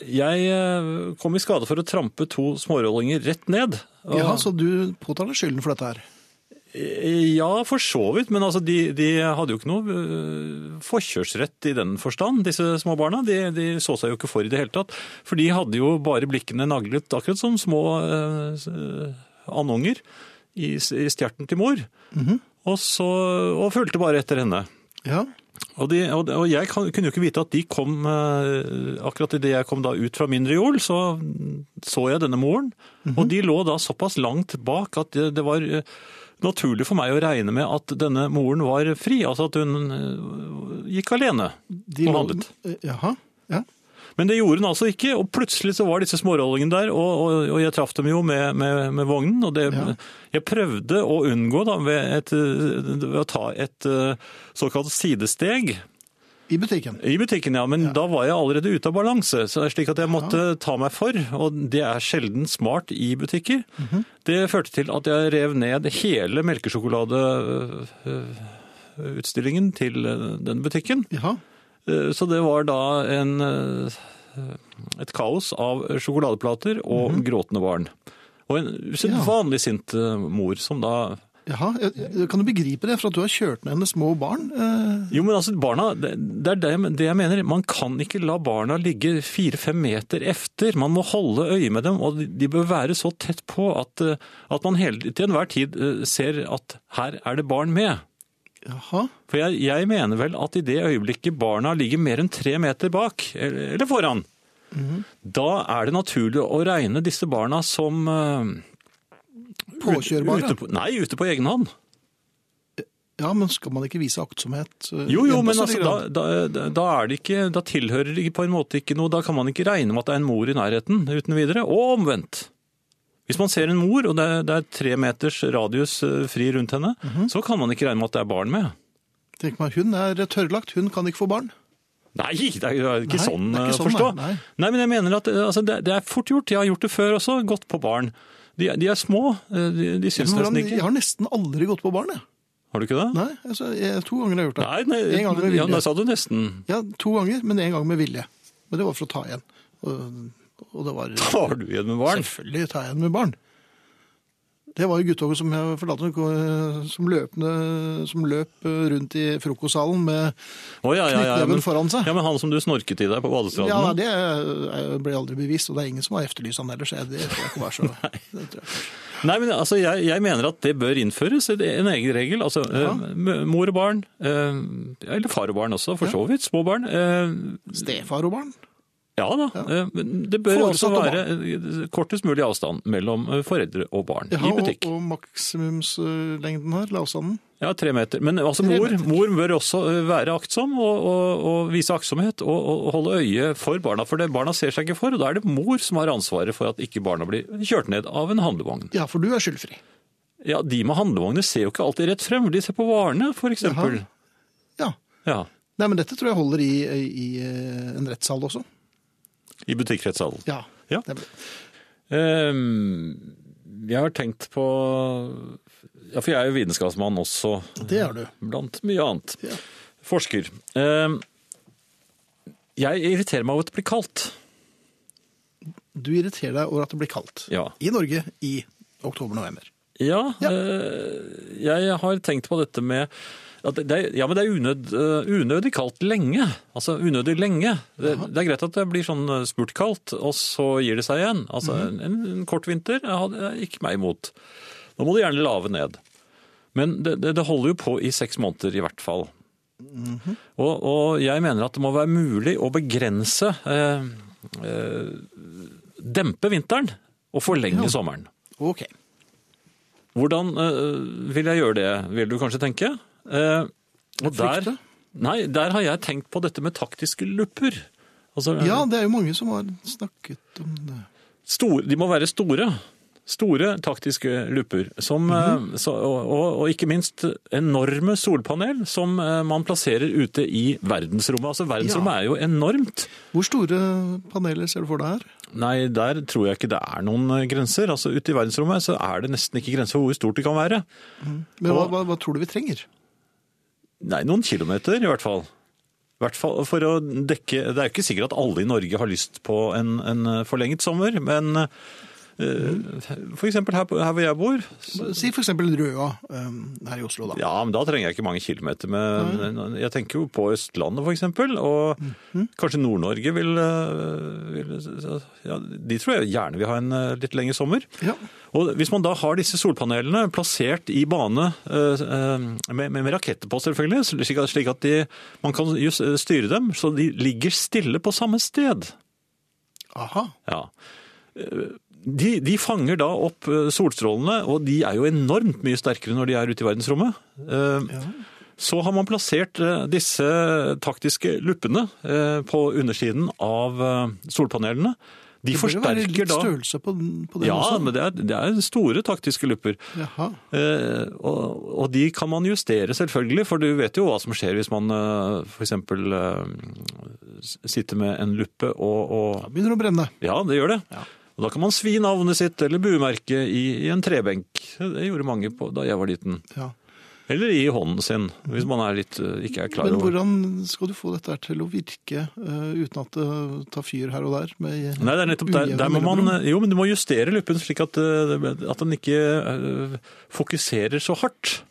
B: jeg eh, kom i skade for å trampe to smårollinger rett ned. Og-
A: Ja, så du påtaler skylden for dette her.
B: Ja, for så vidt. Men altså, de, de hadde jo ikke noe øh, forkjørsrett i den forstand, disse små barna. De, de så seg jo ikke for i det hele tatt. For de hadde jo bare blikkene naglet, akkurat som små øh, s- øh, andunger i, s- i stjerten til mor, og, så, og fulgte bare etter henne.
A: Ja.
B: Og, de, og, og jeg kan, kunne jo ikke vite at de kom eh, Akkurat idet jeg kom da ut fra mindre jord, så så jeg denne moren. Og de lå da såpass langt bak at det, det var eh, naturlig for meg å regne med at denne moren var fri. Altså at hun eh, gikk alene
A: De lå-
B: og
A: Eh,
B: handlet.
A: Jaha. Ja.
B: Men det gjorde hun altså ikke, og plutselig så var disse smårollingene der, og, og, og jeg traff dem jo med, med, med vognen, og det,
A: Ja.
B: jeg prøvde å unngå da ved, et, eh, ved å ta et eh, såkalt sidesteg
A: I butikken.
B: i butikken, ja, men da var jeg allerede ute av balanse, så det er slik at jeg måtte ta meg for, og det er sjelden smart i butikker. Det førte til at jeg rev ned hele melkesjokoladeutstillingen til øh, den butikken.
A: Jaha.
B: Eh, Så det var da en, eh, et kaos av sjokoladeplater og gråtende barn. Og en usedvanlig sint eh, mor som da
A: Jaha. Jeg- jeg- Kan du begripe det, for at du har kjørt ned henne små barn? Eh,
B: Jo, men altså, barna Det det er det, det jeg mener. Man kan ikke la barna ligge fire-fem meter efter. Man må holde øye med dem, og de bør være så tett på at, eh, at man hele, til enhver tid eh, ser at her er det barn med.
A: Jaha.
B: For jeg, jeg mener vel at i det øyeblikket barna ligger mer enn tre meter bak, eller, eller foran, da er det naturlig å regne disse barna som eh,
A: Påkjørbare.
B: Ute på, nei, ute på egen hånd.
A: Ja, men skal man ikke vise aktsomhet? eh,
B: Jo,
A: i
B: jo,
A: en
B: men
A: større
B: altså, da,
A: grad?
B: da, da, er det ikke, da tilhører det ikke på en måte ikke noe. Da kan man ikke regne med at det er en mor i nærheten uten videre. Og omvendt. Hvis man ser en mor, og det er, det er tre meters radius eh, fri rundt henne,
A: Mhm.
B: så kan man ikke regne med at det er barn med.
A: Tenk meg, hun er tørrlagt, hun kan ikke få barn.
B: Nei, det er jo ikke
A: Nei,
B: sånn
A: det er
B: å
A: ikke sånn,
B: forstå.
A: nei, nei.
B: Nei, men jeg mener at eh, altså, det, det er fort gjort. Jeg har gjort det før også, gått på barn. De, de er små, eh, de, de syns
A: Men
B: nesten
A: hvordan,
B: ikke
A: jeg har nesten aldri gått på barn, jeg.
B: Har du ikke det?
A: Nei, altså, jeg, to ganger har jeg gjort det.
B: Nei, nei,
A: En gang med
B: ja,
A: vilje.
B: da sa du nesten.
A: Ja, to ganger, men en gang med vilje. Men det var for å ta igjen. Og, og det var
B: Tar du igjen med barn?
A: selvfølgelig ta igjen med barn. Det var jo guttoget som jeg fortalte, eh, som, løpende, som løp eh, rundt i frokostsalen med
B: Å, ja, ja, ja,
A: Knyttneven
B: men-
A: foran seg.
B: Ja, men han som du snorket i deg på badestranden?
A: Ja, nei, det eh, ble aldri bevist, og det er ingen som har efterlyst han ellers. Jeg- Det tror jeg ikke var så det tror jeg.
B: Nei, men altså, jeg, jeg mener at det bør innføres, en en egen regel. Altså, eh, m- mor og barn, eh, eller far og barn også, for så vidt, små barn. eh,
A: Stefar og barn?
B: Ja da, eh, men det bør
A: Foresatt
B: også
A: og
B: være eh, kortest mulig avstand mellom eh, foreldre og barn
A: Ja,
B: i butikk.
A: Og, og maksimumslengden her, avstanden?
B: Ja, tre meter. Men altså,
A: Tre
B: mor,
A: meter.
B: mor bør også eh, være aktsom og, og, og vise aktsomhet og, og holde øye for barna, for det barna ser seg ikke for, og da er det mor som har ansvaret for at ikke barna blir kjørt ned av en handlevogn.
A: Ja, for du er skyldfri.
B: Ja, de med handlevogner ser jo ikke alltid rett frem, de ser på varene, for eksempel.
A: Jaha. Ja.
B: Ja,
A: Nei, men dette tror jeg holder i, i eh, en rettssal også.
B: i butikkrettsalen.
A: Ja.
B: Ja.
A: Det er bra.
B: Ehm, jeg har tenkt på Ja, for jeg er jo vitenskapsmann også,
A: Det er du.
B: blant mye annet.
A: Ja.
B: Forsker. Ehm, jeg irriterer meg over at det blir kaldt.
A: Du irriterer deg over at det blir kaldt.
B: Ja.
A: I Norge i oktober-november.
B: Ja,
A: Ja.
B: eh, jeg har tenkt på dette med at det er, ja, men det er unød, eh, unødig kaldt lenge. Altså unødig lenge. Det, det er greit at det blir sånn eh, spurt kaldt, og så gir det seg igjen. Altså en, en kort vinter jeg hadde jeg gikk meg imot. Nå må det gjerne lave ned. Men det, det, det holder jo på i seks måneder i hvert fall. og, og jeg mener at det må være mulig å begrense eh, eh, Dempe vinteren og forlenge sommeren.
A: Ok.
B: Hvordan øh, vil jeg gjøre det, vil du kanskje tenke? Eh, og der,
A: Frykte?
B: nei, der har jeg tenkt på dette med taktiske lupper. Altså,
A: Ja, det er jo mange som har snakket om det.
B: store, de må være store. Store taktiske lupper, som,
A: Mhm.
B: eh, så, og, og, og ikke minst enorme solpanel som eh, man plasserer ute i verdensrommet. Altså verdensrommet
A: Ja.
B: er jo enormt.
A: Hvor store paneler ser du for deg her?
B: Nei, der tror jeg ikke det er noen eh, grenser. Altså ute i verdensrommet så er det nesten ikke grenser for hvor stort det kan være.
A: Men hva,
B: Og-
A: hva, hva tror du vi trenger?
B: Nei, noen kilometer i hvert fall. I hvert fall for å dekke, Det er jo ikke sikkert at alle i Norge har lyst på en, en forlenget sommer, men F.eks. her, på- her hvor jeg bor. så-
A: Si f.eks. Røa eh, her i Oslo, da.
B: Ja, men da trenger jeg ikke mange kilometer med Jeg tenker jo på Østlandet, f.eks. Og kanskje Nord-Norge vil, eh, vil ja, De tror jeg gjerne vil ha en eh, litt lengre sommer.
A: Ja.
B: Og hvis man da har disse solpanelene plassert i bane eh, eh, med, med, med raketter på, selvfølgelig, slik at, slik at de, man kan just eh, styre dem, så de ligger stille på samme sted.
A: Aha.
B: Ja. Eh, De, de fanger da opp eh, solstrålene, og de er jo enormt mye sterkere når de er ute i verdensrommet. Eh, Så har man plassert eh, disse taktiske luppene eh, på undersiden av eh, solpanelene. De
A: Det bør jo være
B: forsterker
A: litt
B: da
A: størrelse på, den- på den
B: Ja,
A: også.
B: men det er, det er store taktiske lupper.
A: Jaha.
B: Eh, og, og de kan man justere selvfølgelig, for du vet jo hva som skjer hvis man eh, for eksempel eh, s- sitter med en luppe og, og
A: Da begynner det å brenne.
B: ja, det gjør det. Og da kan man svi navnet sitt eller buemerket i, i en trebenk. Det gjorde mange på, da jeg var liten.
A: Ja.
B: Eller i hånden sin, hvis man er litt, eh, ikke er klar
A: Men
B: over.
A: hvordan skal du få dette her til å virke eh, uten at det tar fyr her og der? Med
B: Nei, det er nettopp der,
A: ujevne
B: der må man,
A: mellomrom?
B: jo, men du må justere luppen slik at, eh, at den ikke eh, fokuserer så hardt.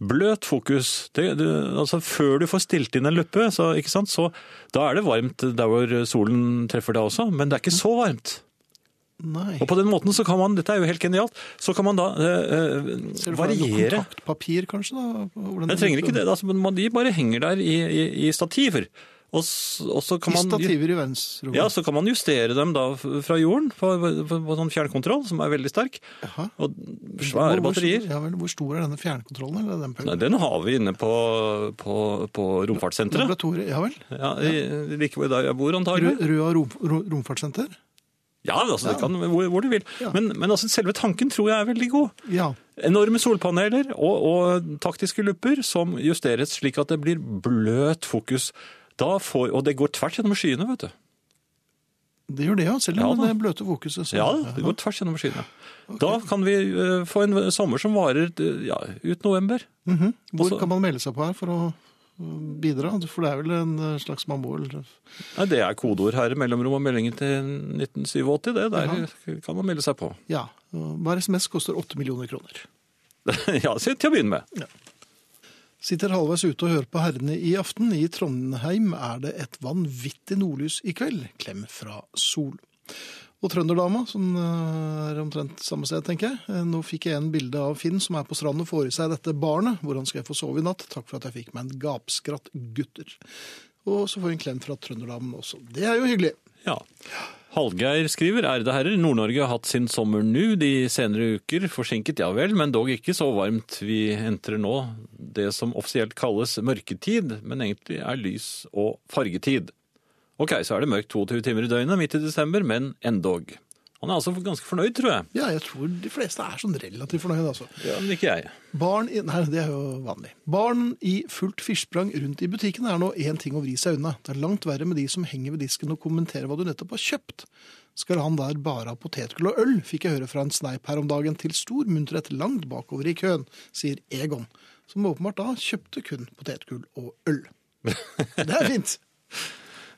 B: Bløt fokus. Det, det, altså før du får stilt inn en luppe, så, ikke sant? så da er det varmt der hvor solen treffer deg også, men det er ikke så varmt.
A: Nei.
B: Og på den måten så kan man, dette er jo helt genialt, så kan man da eh, eh,
A: Ser du for deg noe
B: variere.
A: Kontaktpapir, kanskje? da? Hvordan
B: Jeg trenger ikke det, altså, men man, de bare henger der i, i, i stativer. Og, s- og så kan
A: I
B: man...
A: stativer i verdensrommet.
B: Ja, så kan man justere dem da fra jorden på, på, på sånn fjernkontroll, som er veldig sterk.
A: Jaha.
B: Og svære
A: Hvor- hvor stor-
B: batterier.
A: Ja, vel, hvor stor er denne fjernkontrollen? Eller den
B: Nei, den har vi inne på, på, på romfartssenteret.
A: Laboratoriet, ja vel.
B: Ja, i- like hvor der jeg bor, antagelig.
A: Rø- Røa rom, ro- romfartssenter?
B: Ja, altså, det kan, hvor, hvor du vil.
A: Ja.
B: Men, men altså, selve tanken tror jeg er veldig god.
A: Ja.
B: Enorme solpaneler og, og taktiske lupper som justeres slik at det blir bløt fokus. Da får, og det går tvert gjennom skyene, vet du.
A: Det gjør det, ja. Selv
B: Ja,
A: om
B: da.
A: det bløte fokuset. så-
B: Ja, det går tvers gjennom skyene. Da kan vi eh, få en sommer som varer eh, ja, ut november.
A: Mhm. Hvor
B: Også-
A: kan man melde seg på her for å øh, bidra? For det er vel en øh, slags man må vel-
B: Nei, det er kodeord her i mellomrom og meldingen til 1987, det. Der kan man melde seg på.
A: Ja. øh, Hver SMS koster 8 millioner kroner.
B: ja, til til å begynne med.
A: Sitter halvveis ute og hører på herrene i aften. I Trondheim er det et vanvittig nordlys i kveld. Klem fra sol. Og trønderdama, som eh, er omtrent samme sted, tenker jeg. Eh, Nå fikk jeg en bilde av Finn som er på stranden og får i seg dette barnet. Hvordan skal jeg få sove i natt? Takk for at jeg fikk meg en gapskratt, gutter. Og så får jeg en klem fra trønderdamen også. Det er jo hyggelig.
B: Ja. Hallgeir skriver, ærede herrer, Nord-Norge har hatt sin sommer nå de senere uker. Forsinket, ja vel, men dog ikke så varmt. Vi entrer nå det som offisielt kalles mørketid, men egentlig er lys- og fargetid. Ok, så er det mørkt 22 timer i døgnet midt i desember, men endog. Han er altså ganske fornøyd, tror jeg.
A: Ja, jeg tror de fleste er sånn relativt fornøyd, altså.
B: Men ikke jeg.
A: Barn i, nei, det er jo vanlig. Barn i fullt firsprang rundt i butikken er nå én ting å vri seg unna. Det er langt verre med de som henger ved disken og kommenterer hva du nettopp har kjøpt. Skal han der bare ha potetgull og øl, fikk jeg høre fra en sneip her om dagen, til stor munterhet langt bakover i køen, sier Egon, som åpenbart da kjøpte kun potetgull og øl. Det er fint.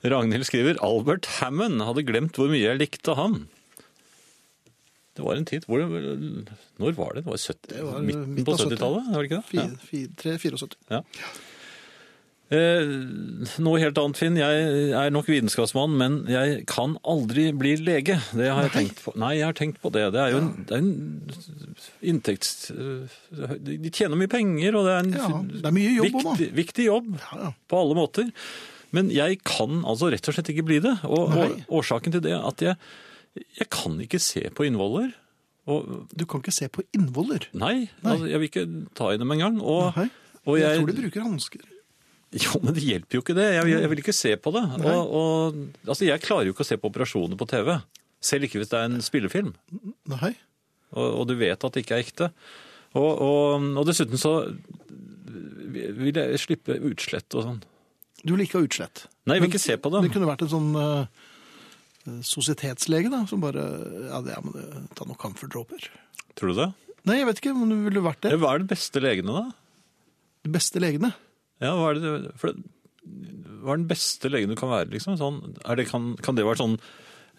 B: Ragnhild skriver Albert Hammond hadde glemt hvor mye jeg likte han. Det var en tid hvor Når var det? Det var, 70,
A: Det var
B: midten
A: midten
B: på
A: av
B: 70-tallet? var det ikke det? Ja.
A: Fire- fire- tre- 74.
B: Ja. Eh, noe helt annet, Finn. Jeg er nok vitenskapsmann, men jeg kan aldri bli lege. Det har jeg tenkt på. Nei, jeg har tenkt på det. Det er jo en, det er en inntekts... eh, De tjener mye penger, og det er en
A: Ja, det er mye jobb også, da.
B: viktig, viktig jobb
A: Ja, ja.
B: på alle måter. Men jeg kan altså rett og slett ikke bli det. Og, og
A: Nei.
B: årsaken til det er at jeg, jeg kan ikke se på innvoller. Og,
A: Du kan ikke se på innvoller.
B: nei,
A: Nei.
B: Altså, jeg vil ikke ta i dem engang. Og,
A: Nei.
B: og
A: Jeg tror de bruker hansker.
B: jo, men det hjelper jo ikke det. Jeg vil, jeg vil ikke se på det. Og, og, altså, jeg klarer jo ikke å se på operasjoner på TV. Selv ikke hvis det er en spillefilm.
A: Nei.
B: Og, og du vet at det ikke er ekte. Og, og, og dessuten så vil jeg slippe utslett og sånn.
A: Du vil ikke ha utslett.
B: Nei, jeg vil ikke se på
A: Det
B: dem.
A: kunne vært en sånn eh, sosietetslege, da, som bare Ja, det er, men eh, ta noen camferdråper.
B: Tror du det?
A: Nei, jeg vet ikke, men det ville vært det.
B: Hva er de beste legene, da?
A: De beste legene.
B: Ja, hva er, det, for det, hva er den beste legen du kan være, liksom? Sånn, er det, kan, kan det være sånn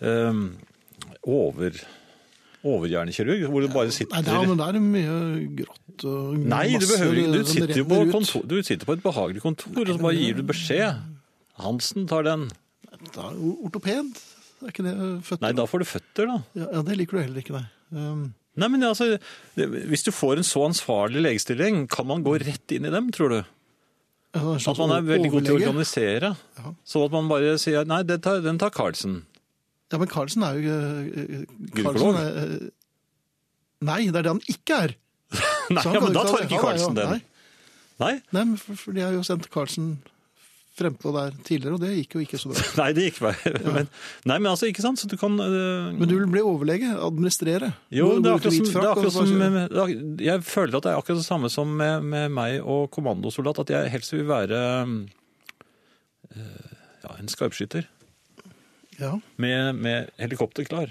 B: ehm, over, overhjernekirurg, hvor du bare
A: Nei, det er,
B: sitter
A: men det er mye grått og
B: Nei, du
A: masse
B: behøver ikke. Du
A: som
B: sitter jo på,
A: renner ut.
B: kontor, du sitter på et behagelig kontor, og så bare gir du beskjed. Hansen tar den.
A: Da, ortoped? Er ikke det føtter?
B: Nei, da får du føtter, da.
A: Ja, ja, det liker du heller ikke, nei. Um,
B: Nei, men altså, det- Hvis du får en så ansvarlig legestilling, kan man gå rett inn i dem, tror du?
A: en
B: At
A: slags
B: man er veldig god til å
A: sånn overlege.
B: organisere.
A: Ja. Sånn
B: Så at man bare sier nei, den tar, den tar Carlsen.
A: Ja, men Carlsen er jo eh,
B: Gynekolog?
A: Carlsen er, eh, Nei, det er det han ikke er.
B: Nei,
A: Så han
B: ja,
A: kan
B: men
A: jo
B: da
A: ha
B: tar
A: det. Han
B: ikke
A: er jo-
B: Carlsen
A: Nei,
B: den. Nei,
A: nei men for, for de har jo sendt Carlsen frempå der tidligere, og det gikk jo ikke så bra.
B: nei det gikk bare. Men, nei, men altså, ikke sant? Så du kan øh,
A: Men du vil bli overlege, administrere.
B: Jo,
A: Gå-
B: det er
A: gå ut i
B: akkurat som,
A: hvit
B: det er
A: frakk, og så bare
B: akkurat som
A: kjøre.
B: det er ak- Jeg føler at det er akkurat det samme som med, med meg og kommandosoldat, at jeg helst vil være eh, ja, en skarpskytter
A: Ja,
B: med, med helikopter klar.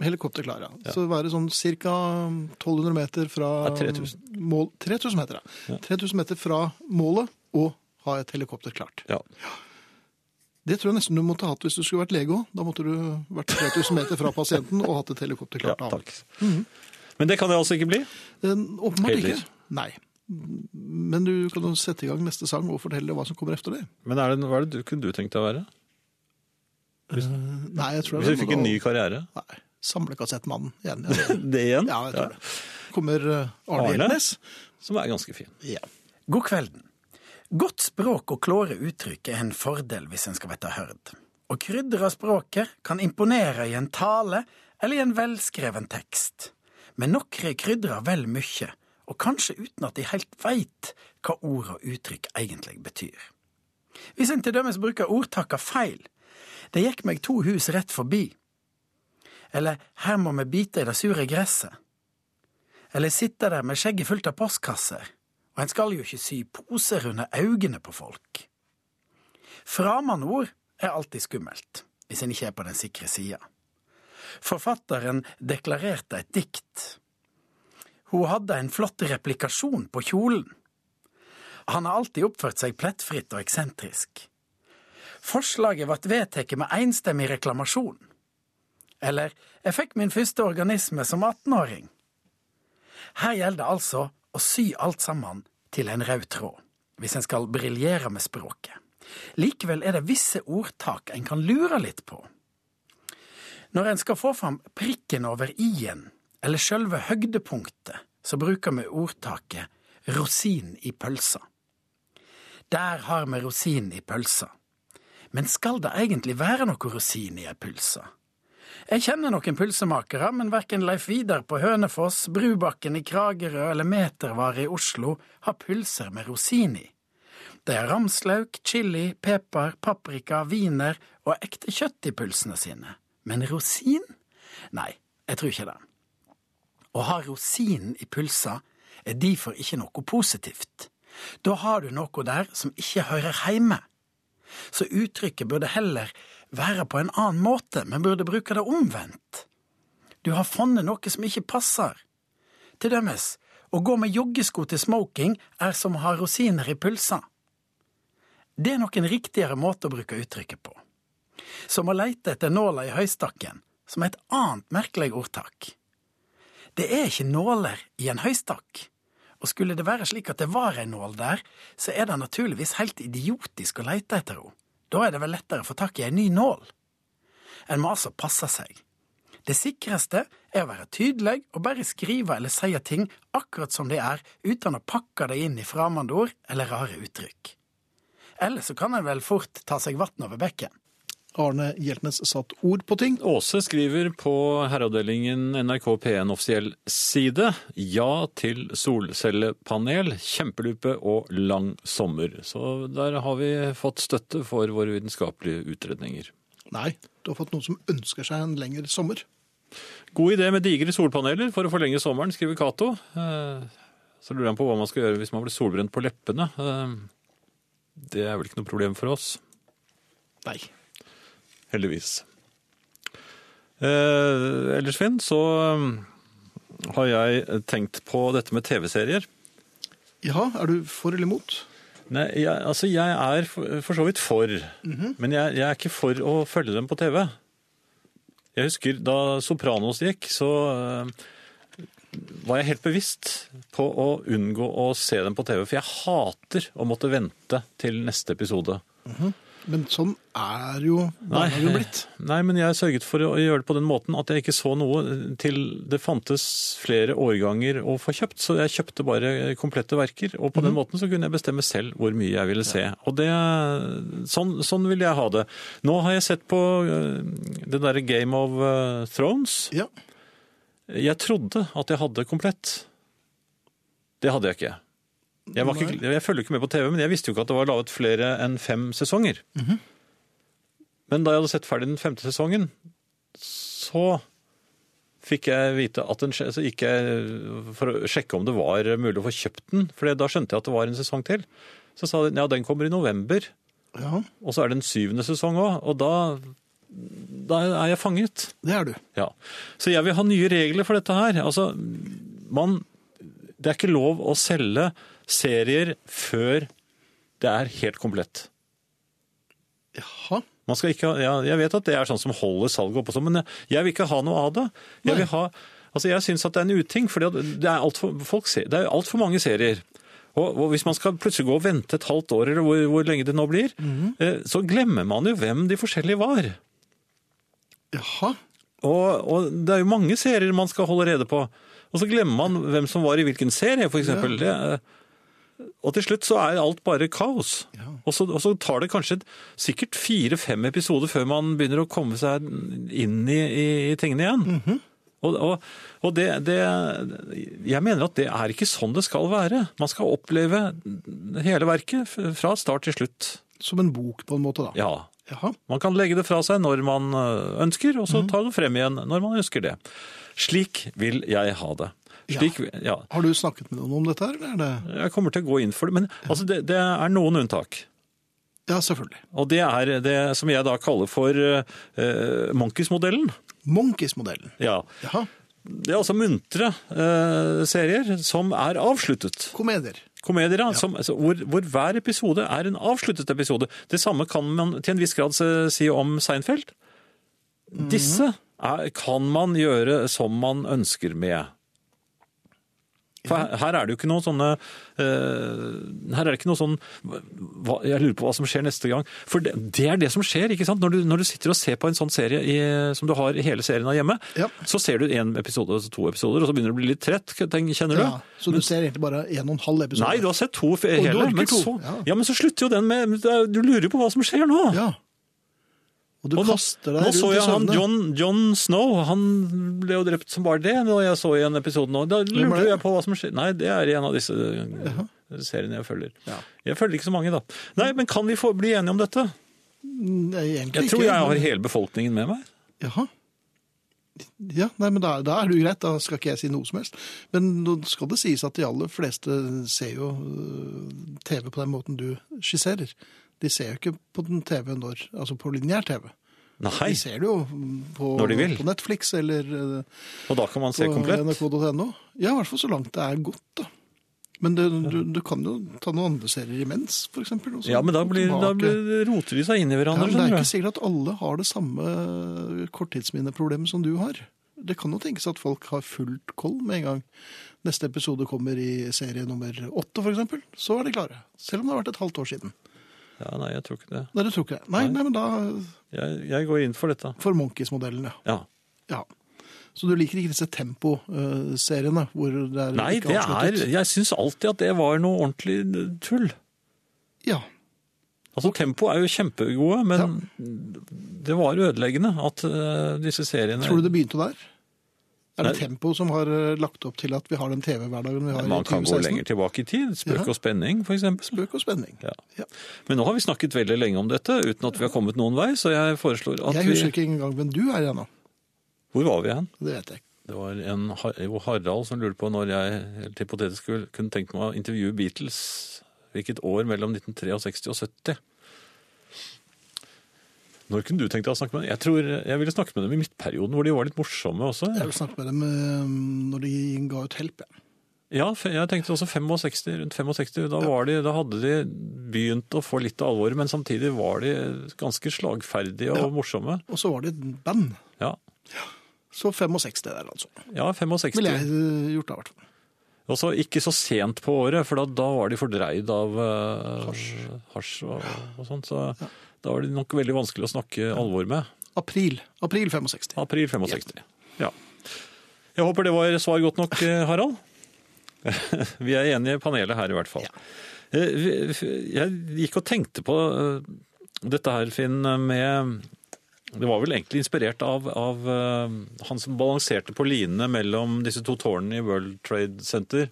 A: helikopter klar, ja. Så være sånn ca. 1200 meter fra
B: Ja, 3000.
A: mål. 3000 meter, ja. 3000 meter fra målet og ha et helikopter klart.
B: Ja.
A: Det tror jeg nesten du måtte hatt hvis du skulle vært lege òg. Da måtte du vært 3000 meter fra pasienten og hatt et helikopter
B: ja,
A: klart av.
B: takk. Men det kan jeg altså ikke bli.
A: Eh, Åpenbart
B: Heller.
A: ikke. Nei. Men du kan jo sette i gang neste sang og fortelle hva som kommer etter det.
B: Men er det, hva er det du, kunne du tenkt deg å være?
A: Nei, jeg tror
B: Hvis
A: jeg
B: du fikk en ny karriere?
A: Nei, Samlekassettmannen igjen. Ja,
B: Det igjen?
A: ja jeg tror det. Kommer eh, Arne
B: Arne?
A: Hjeltnes.
B: Som er ganske fin.
A: Ja.
E: God kvelden. Godt språk og klåre uttrykk er en fordel hvis en skal verte hørt. Å krydre språket kan imponere i en tale eller i en velskreven tekst. Men nokre krydrer vel mykje, og kanskje uten at de heilt veit hva ord og uttrykk egentlig betyr. Hvis en til dømes bruker ordtaka feil, det gikk meg to hus rett forbi, eller her må vi bite i det sure gresset, eller sitte der med skjegget fullt av postkasser, og en skal jo ikke sy poser under øynene på folk. Framandord er alltid skummelt, hvis en ikke er på den sikre sida. Forfatteren deklarerte et dikt. Hun hadde en flott replikasjon på kjolen. Han har alltid oppført seg plettfritt og eksentrisk. Forslaget ble vedtatt med enstemmig reklamasjon. Eller jeg fikk min første organisme som 18-åring. Her gjelder det altså å sy alt sammen til en rød tråd, hvis en skal briljere med språket. Likevel er det visse ordtak en kan lure litt på. Når en skal få fram prikken over i-en, eller sjølve høgdepunktet, så bruker vi ordtaket rosin i pølsa. Der har vi rosin i pølsa. Men skal det egentlig være noe rosin i ei pølse? Jeg kjenner noen pølsemakere, men verken Leif Vidar på Hønefoss, Brubakken i Kragerø eller Metervare i Oslo har pølser med rosin i. De har ramslauk, chili, pepper, paprika, wiener og ekte kjøtt i pølsene sine. Men rosin? Nei, jeg tror ikke det. Å ha rosinen i pølsa er derfor ikke noe positivt. Da har du noe der som ikke hører heime så uttrykket burde heller være på en annen måte, men burde bruke det omvendt. Du har funnet noe som ikke passer. Til dømes, å gå med joggesko til smoking er som å ha rosiner i pølsa. Det er nok en riktigere måte å bruke uttrykket på. Som å leite etter nåla i høystakken, som er et annet merkelig ordtak. Det er ikke nåler i en høystakk. Og skulle det være slik at det var en nål der, så er det naturligvis helt idiotisk å leite etter henne. Da er det vel lettere å få tak i en ny nål. En må altså passe seg. Det sikreste er å være tydelig og bare skrive eller si ting akkurat som de er, uten å pakke det inn i fremmedord eller rare uttrykk. Eller så kan en vel fort ta seg vann over bekken.
A: Arne Hjeltnes satt ord på ting.
B: Åse skriver på herreavdelingen NRK P1 offisiell side ja til solcellepanel, kjempelupe og lang sommer. Så der har vi fått støtte for våre vitenskapelige utredninger.
A: Nei, du har fått noen som ønsker seg en lengre sommer.
B: God idé med digre solpaneler for å forlenge sommeren, skriver Cato. Eh, Så lurer han på hva man skal gjøre hvis man blir solbrent på leppene. Eh, Det er vel ikke noe problem for oss.
A: Nei.
B: Heldigvis. Eh, ellers, Finn, så eh, har jeg tenkt på dette med TV-serier.
A: Ja, er du for eller imot?
B: Nei, jeg, altså, jeg er for, for så vidt for, men jeg, jeg er ikke for å følge dem på TV. Jeg husker da Sopranos gikk, så eh, var jeg helt bevisst på å unngå å se dem på TV, for jeg hater å måtte vente til neste episode.
A: Men sånn er jo barnehagen blitt.
B: Nei, men jeg sørget for å gjøre det på den måten at jeg ikke så noe til det fantes flere årganger å få kjøpt, så jeg kjøpte bare komplette verker, og
A: Mhm.
B: på den måten så kunne jeg bestemme selv hvor mye jeg ville se. Og det, sånn, sånn ville jeg ha det. Nå har jeg sett på øh, det derre Game of øh, Thrones.
A: Ja.
B: Jeg trodde at jeg hadde komplett. Det hadde jeg ikke. Jeg, var ikke, jeg følger ikke med på TV, men jeg visste jo ikke at det var laget flere enn fem sesonger. Men da jeg hadde sett ferdig den femte sesongen, så fikk jeg vite at den skje- så gikk jeg eh, for å sjekke om det var mulig å få kjøpt den, for da skjønte jeg at det var en sesong til. Så sa de ja, den kommer i november,
A: ja,
B: og så er det en syvende sesong òg, og da, da er jeg fanget.
A: det er du.
B: Ja. Så jeg vil ha nye regler for dette her. Altså, man, det er ikke lov å selge serier før det er helt komplett.
A: Jaha.
B: Man skal ikke ha, ja, jeg vet at det er sånn som holder salget oppe, og sånn, men jeg, jeg vil ikke ha noe av det. Jeg, vil ha, altså jeg syns at det er en uting, for det er altfor alt for mange serier. Og, og hvis man skal plutselig gå og vente et halvt år, eller hvor, hvor lenge det nå blir, eh, så glemmer man jo hvem de forskjellige var.
A: Jaha.
B: Og, og det er jo mange serier man skal holde rede på. Og så glemmer man hvem som var i hvilken serie, for eksempel. Det, eh, og til slutt så er alt bare kaos. Og, så, og så tar det kanskje et- sikkert fire-fem episoder før man begynner å komme seg inn i, i, i tingene igjen. Og, og, og det, det Jeg mener at det er ikke sånn det skal være. Man skal oppleve hele verket f- fra start til slutt.
A: Som en bok, på en måte, da.
B: Ja.
A: Jaha.
B: Man kan legge det fra seg når man ø, ønsker, og så tar det frem igjen når man ønsker det. Slik vil jeg ha det. Slik, ja.
A: Har du snakket med noen om dette her, eller er det
B: Jeg kommer til å gå inn for det, men altså, det, det er noen unntak.
A: Ja, selvfølgelig.
B: Og det er det som jeg da kaller for uh, Monkeys-modellen.
A: Monkeys-modellen.
B: Ja.
A: Jaha.
B: Det er altså muntre ø, serier som er avsluttet.
A: Komedier.
B: Komedier, ja. Som, altså, hvor, hvor hver episode er en avsluttet episode. Det samme kan man til en viss grad se- si om Seinfeld.
A: Mhm.
B: Disse er, kan man gjøre som man ønsker med. For her, her er det jo ikke noe sånne eh, Her er det ikke noe sånn hva, Jeg lurer på hva som skjer neste gang. For det, det er det som skjer, ikke sant? Når du, når du sitter og ser på en sånn serie i, som du har hele serien av hjemme,
A: Ja.
B: så ser du én episode, så to episoder, og så begynner du å bli litt trett, tenk- kjenner du?
A: Ja, så du ser egentlig bare en og en halv episode?
B: Nei, du har sett to f-
A: du
B: hele,
A: orker
B: men,
A: to,
B: Så,
A: ja.
B: ja. men så slutter jo den med Du lurer jo på hva som skjer nå!
A: Ja. Og du
B: Og nå,
A: kaster deg
B: nå så
A: rundt i
B: jeg han
A: søvne.
B: John, John Snow, han ble jo drept som bare det da jeg så i en episode nå. Da
A: er
B: lurte
A: det?
B: jeg på hva som skjer. Nei, det er i en av disse seriene jeg følger. Jeg følger ikke så mange, da. Nei, men kan vi få bli enige om dette?
A: Nei, Mm, egentlig
B: Jeg tror
A: ikke,
B: jeg har
A: men-
B: hele befolkningen med meg.
A: Jaha. Ja, nei, men da, da er det jo greit, da skal ikke jeg si noe som helst. Men nå skal det sies at de aller fleste ser jo øh, TV på den måten du skisserer. De ser jo ikke på den TV når, altså på lineær TV.
B: Nei,
A: De ser det jo på,
B: Når de vil.
A: på Netflix eller øh,
B: og da kan man se
A: på
B: komplett.
A: nrk.no. Ja, i hvert fall så langt det er godt, da. Men det, du, du kan jo ta noen andre serier imens, for eksempel. og så
B: Ja, men da,
A: gå
B: blir, da
A: tilbake.
B: blir, roter de seg inn i
A: ja, men
B: hverandre.
A: Det er
B: skjønner
A: ikke
B: du.
A: sikkert at alle har det samme korttidsminneproblemet som du har. Det kan jo tenkes at folk har fullt koll med en gang neste episode kommer i serie nummer åtte, for eksempel. Så er de klare. Selv om det har vært et halvt år siden.
B: Ja, nei, jeg tror ikke det.
A: Nei, det tror ikke jeg. Nei, nei, men da
B: Jeg, jeg går inn for dette.
A: For Monkeys-modellen, ja.
B: Ja.
A: ja. Så du liker ikke disse tempo-seriene hvor det er
B: Nei,
A: ikke
B: det er,
A: avsluttet?
B: jeg syns alltid at det var noe ordentlig tull.
A: Ja.
B: Altså, Tempo er jo kjempegode, men det var ødeleggende at eh, disse seriene
A: Tror du det begynte der? Er det
B: Nei.
A: Tempo som har eh, lagt opp til at vi har den TV-hverdagen vi har
B: Man
A: i
B: kan gå
A: 2016?
B: lenger tilbake i tid. Spøk
A: Jaha.
B: og spenning, f.eks.
A: Spøk og spenning.
B: Ja.
A: Ja.
B: Men nå har vi snakket veldig lenge om dette uten at vi har kommet noen vei, så jeg foreslår at
A: Jeg husker
B: vi
A: ikke engang hvem du er ennå.
B: Hvor var vi hen?
A: Det vet jeg ikke.
B: Det var en Har- jo, Harald som lurte på når jeg helt hypotetisk skulle- kunne tenkt meg å intervjue Beatles. Hvilket år mellom 1963 og 70? Når kunne du tenkt deg å snakke med dem? Jeg tror jeg ville snakke med dem i midtperioden, hvor de var litt morsomme
A: Jeg
B: også.
A: vil snakke med dem eh, når de ga ut Help. jeg.
B: Ja, fe- jeg tenkte også 65, rundt 65. Da, var de, da hadde de begynt å få litt av alvoret, men samtidig var de ganske slagferdige og morsomme.
A: Og så var det et band.
B: Ja.
A: Så fem og seks det der, altså.
B: Ja, 65.
A: Ville jeg eh, gjort da, i hvert fall.
B: Og så Altså, ikke så sent på året, for da, da var de fordreid av eh, hasj og, og sånt. Så da var det nok veldig vanskelig å snakke alvor med.
A: April. April 65.
B: April 65. Ja. Jeg håper det var svar godt nok, eh, Harald. Vi er enige i panelet her i hvert fall. Eh, vi- Jeg gikk og tenkte på eh, dette her, Finn, med Det var vel egentlig inspirert av, av eh, han som balanserte på linene mellom disse to tårnene i World Trade Center.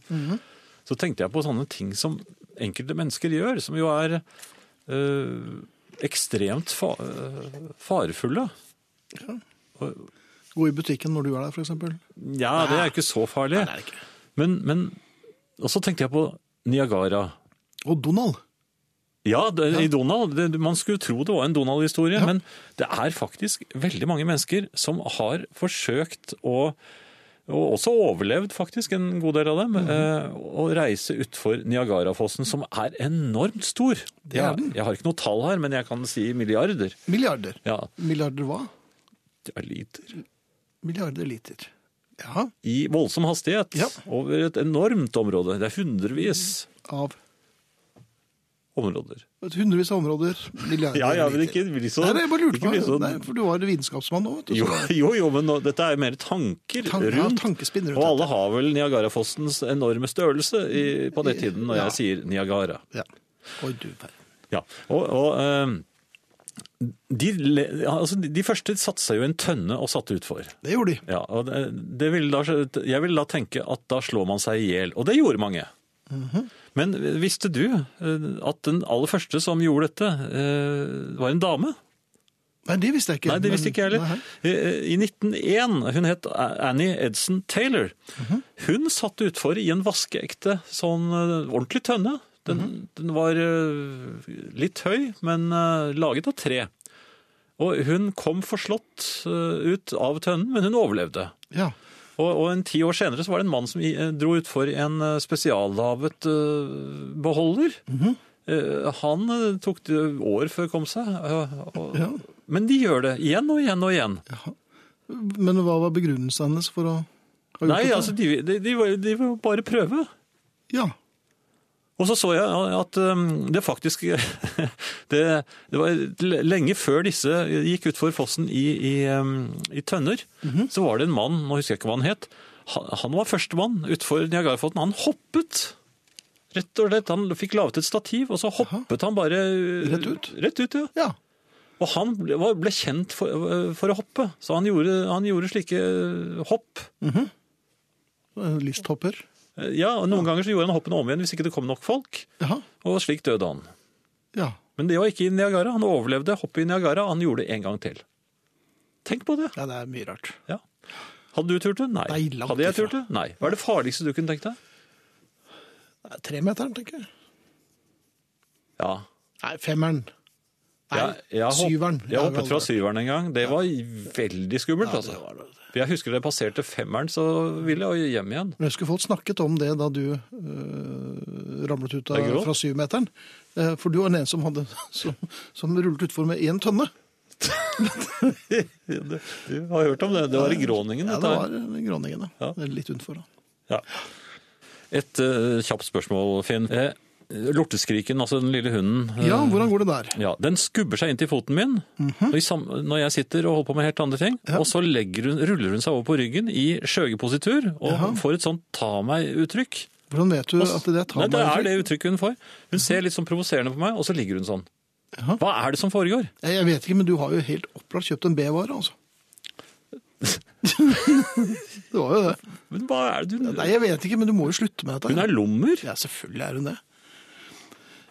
B: Så tenkte jeg på sånne ting som enkelte mennesker gjør, som jo er eh, ekstremt fa eh, farefulle.
A: Gå i butikken når du er der, for eksempel.
B: Ja, det er jo ikke så farlig.
A: det er det ikke.
B: Men, men Og så tenkte jeg på Niagara.
A: Og Donald.
B: Ja, det, i Donald. Det, man skulle tro det var en Donald-historie, men det er faktisk veldig mange mennesker som har forsøkt å og også overlevd faktisk en god del av dem,
A: Mhm.
B: eh, å reise utfor Niagarafossen, som er enormt stor.
A: er
B: Ja,
A: den.
B: Jeg har ikke noe tall her, men jeg kan si milliarder.
A: Milliarder.
B: Ja,
A: Milliarder hva?
B: det er liter.
A: Milliarder liter. Ja,
B: I voldsom hastighet,
A: Ja.
B: over et enormt område. Det er hundrevis
A: av
B: områder.
A: et hundrevis av områder. Milliarder
B: Ja, ja, men
A: liter.
B: ikke bli så
A: Nei, det er bare lurt
B: ikke
A: på.
B: bli så-
A: Nei, for du var vitenskapsmann nå, vet du.
B: Jo, jo, jo, men nå, dette er jo mer tanker
A: Tan- ja,
B: rundt.
A: tankespinn rundt
B: og alle har vel Niagarafossens enorme størrelse i, på den tiden når
A: Ja.
B: jeg sier Niagara.
A: Ja. Oi, du verden.
B: Ja, og, og ehm, de, le- altså, de- de første satsa jo en tønne og satte utfor.
A: Det gjorde de.
B: Ja, og det, det ville da, jeg ville da tenke at da slår man seg i hjel, og det gjorde mange.
A: Mhm.
B: Men visste du eh, at den aller første som gjorde dette, eh, var en dame?
A: Nei, det visste jeg ikke.
B: Nei, det visste
A: Men-
B: ikke jeg heller. Eh,
A: Nei.
B: I 1901, hun het Annie Edson Taylor,
A: Mhm.
B: hun satt utfor i en vaskeekte sånn eh, ordentlig tønne. Den,
A: Mhm.
B: den var eh, litt høy, men eh, laget av tre. Og hun kom forslått eh, ut av tønnen, men hun overlevde.
A: Ja.
B: Og, og en ti år senere så var det en mann som i- eh, dro utfor en eh, spesiallavet eh, beholder.
A: Mhm.
B: Eh, Han eh, tok det år før kom seg. eh, og-
A: Ja.
B: Men de gjør det igjen og igjen og igjen.
A: ja. Men hva var begrunnelsen hennes for å ha gjort
B: Nei,
A: dette?
B: altså, de, de, de, var- de vil bare prøve.
A: Ja.
B: Og så så jeg at um, det faktisk det, det var lenge før disse gikk utfor fossen i, i, um, i Tønner,
A: Mhm.
B: så var det en mann, nå husker jeg ikke hva han het, han, han var førstemann utfor Niagarafossen. Han hoppet! Rett og slett. Han fikk laget et stativ, og så hoppet han bare uh,
A: Rett ut?
B: Rett ut, ja.
A: ja.
B: Og han ble, var- ble kjent for, uh, for å hoppe, så han gjorde, han gjorde slike uh, hopp.
A: En Listhopper.
B: Uh, Ja, og noen ganger så gjorde han hoppene om igjen hvis ikke det kom nok folk,
A: Ja.
B: og slik døde han.
A: ja.
B: Men det var ikke i Niagara. Han overlevde hoppet i Niagara, han gjorde det en gang til. Tenk på det.
A: Ja, det er mye rart.
B: Ja. Hadde du turt det? Nei.
A: Nei, langt
B: Hadde jeg
A: ifra.
B: turt det? Nei. Hva er det farligste du kunne tenkt deg?
A: Nei, Tremeteren, tenker jeg.
B: Ja.
A: Nei, femmeren. Nei,
B: Jeg- jeg hopp-
A: syveren.
B: Jeg hoppet fra
A: syveren.
B: syveren en gang. Det var veldig skummelt, altså. For Jeg husker da jeg passerte femmeren, så ville jeg jo hjem igjen.
A: Men jeg husker folk snakket om det da du øh, ramlet ut av,
B: Jeg gråt.
A: fra syvmeteren. Eh, for du var den ene som, hadde, som, som rullet utfor med én tønne.
B: Du du har hørt om det. Det var i Gråningen.
A: Ja,
B: dette
A: det
B: her.
A: var Gråningen, da.
B: Ja.
A: Det er Litt utenfor, da.
B: Ja. Et eh, kjapt spørsmål, Finn. Eh, lorteskriken, altså den lille hunden. eh,
A: Ja, Mhm. hvordan går det der?
B: Ja, Den skubber seg inn til foten min og i sam- når jeg sitter og holder på med helt andre ting. Og så legger hun, ruller hun seg over på ryggen i skjøgepositur og får et sånt ta meg-uttrykk.
A: Hvordan vet du at det er
B: Nei,
A: tar
B: det er
A: meg?
B: det uttrykket hun får. Hun ser litt sånn provoserende på meg, og så ligger hun sånn.
A: Jaha.
B: Hva er det som foregår?
A: Jeg, jeg vet ikke, men du har jo helt opplagt kjøpt en B-vare, altså. det var jo det.
B: Men hva er det hun
A: Nei, jeg vet ikke, men du må jo slutte med dette.
B: Hun er lommer.
A: Ja, selvfølgelig er hun det.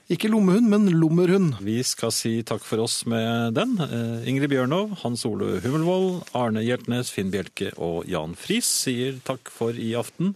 A: Ikke lommehund, men lommerhund.
B: Vi skal si takk for oss med den. Eh, Ingrid Bjørnov, Hans Ole Hummelvold, Arne Hjeltnes, Finn Bjelke og Jan Friis sier takk for i aften.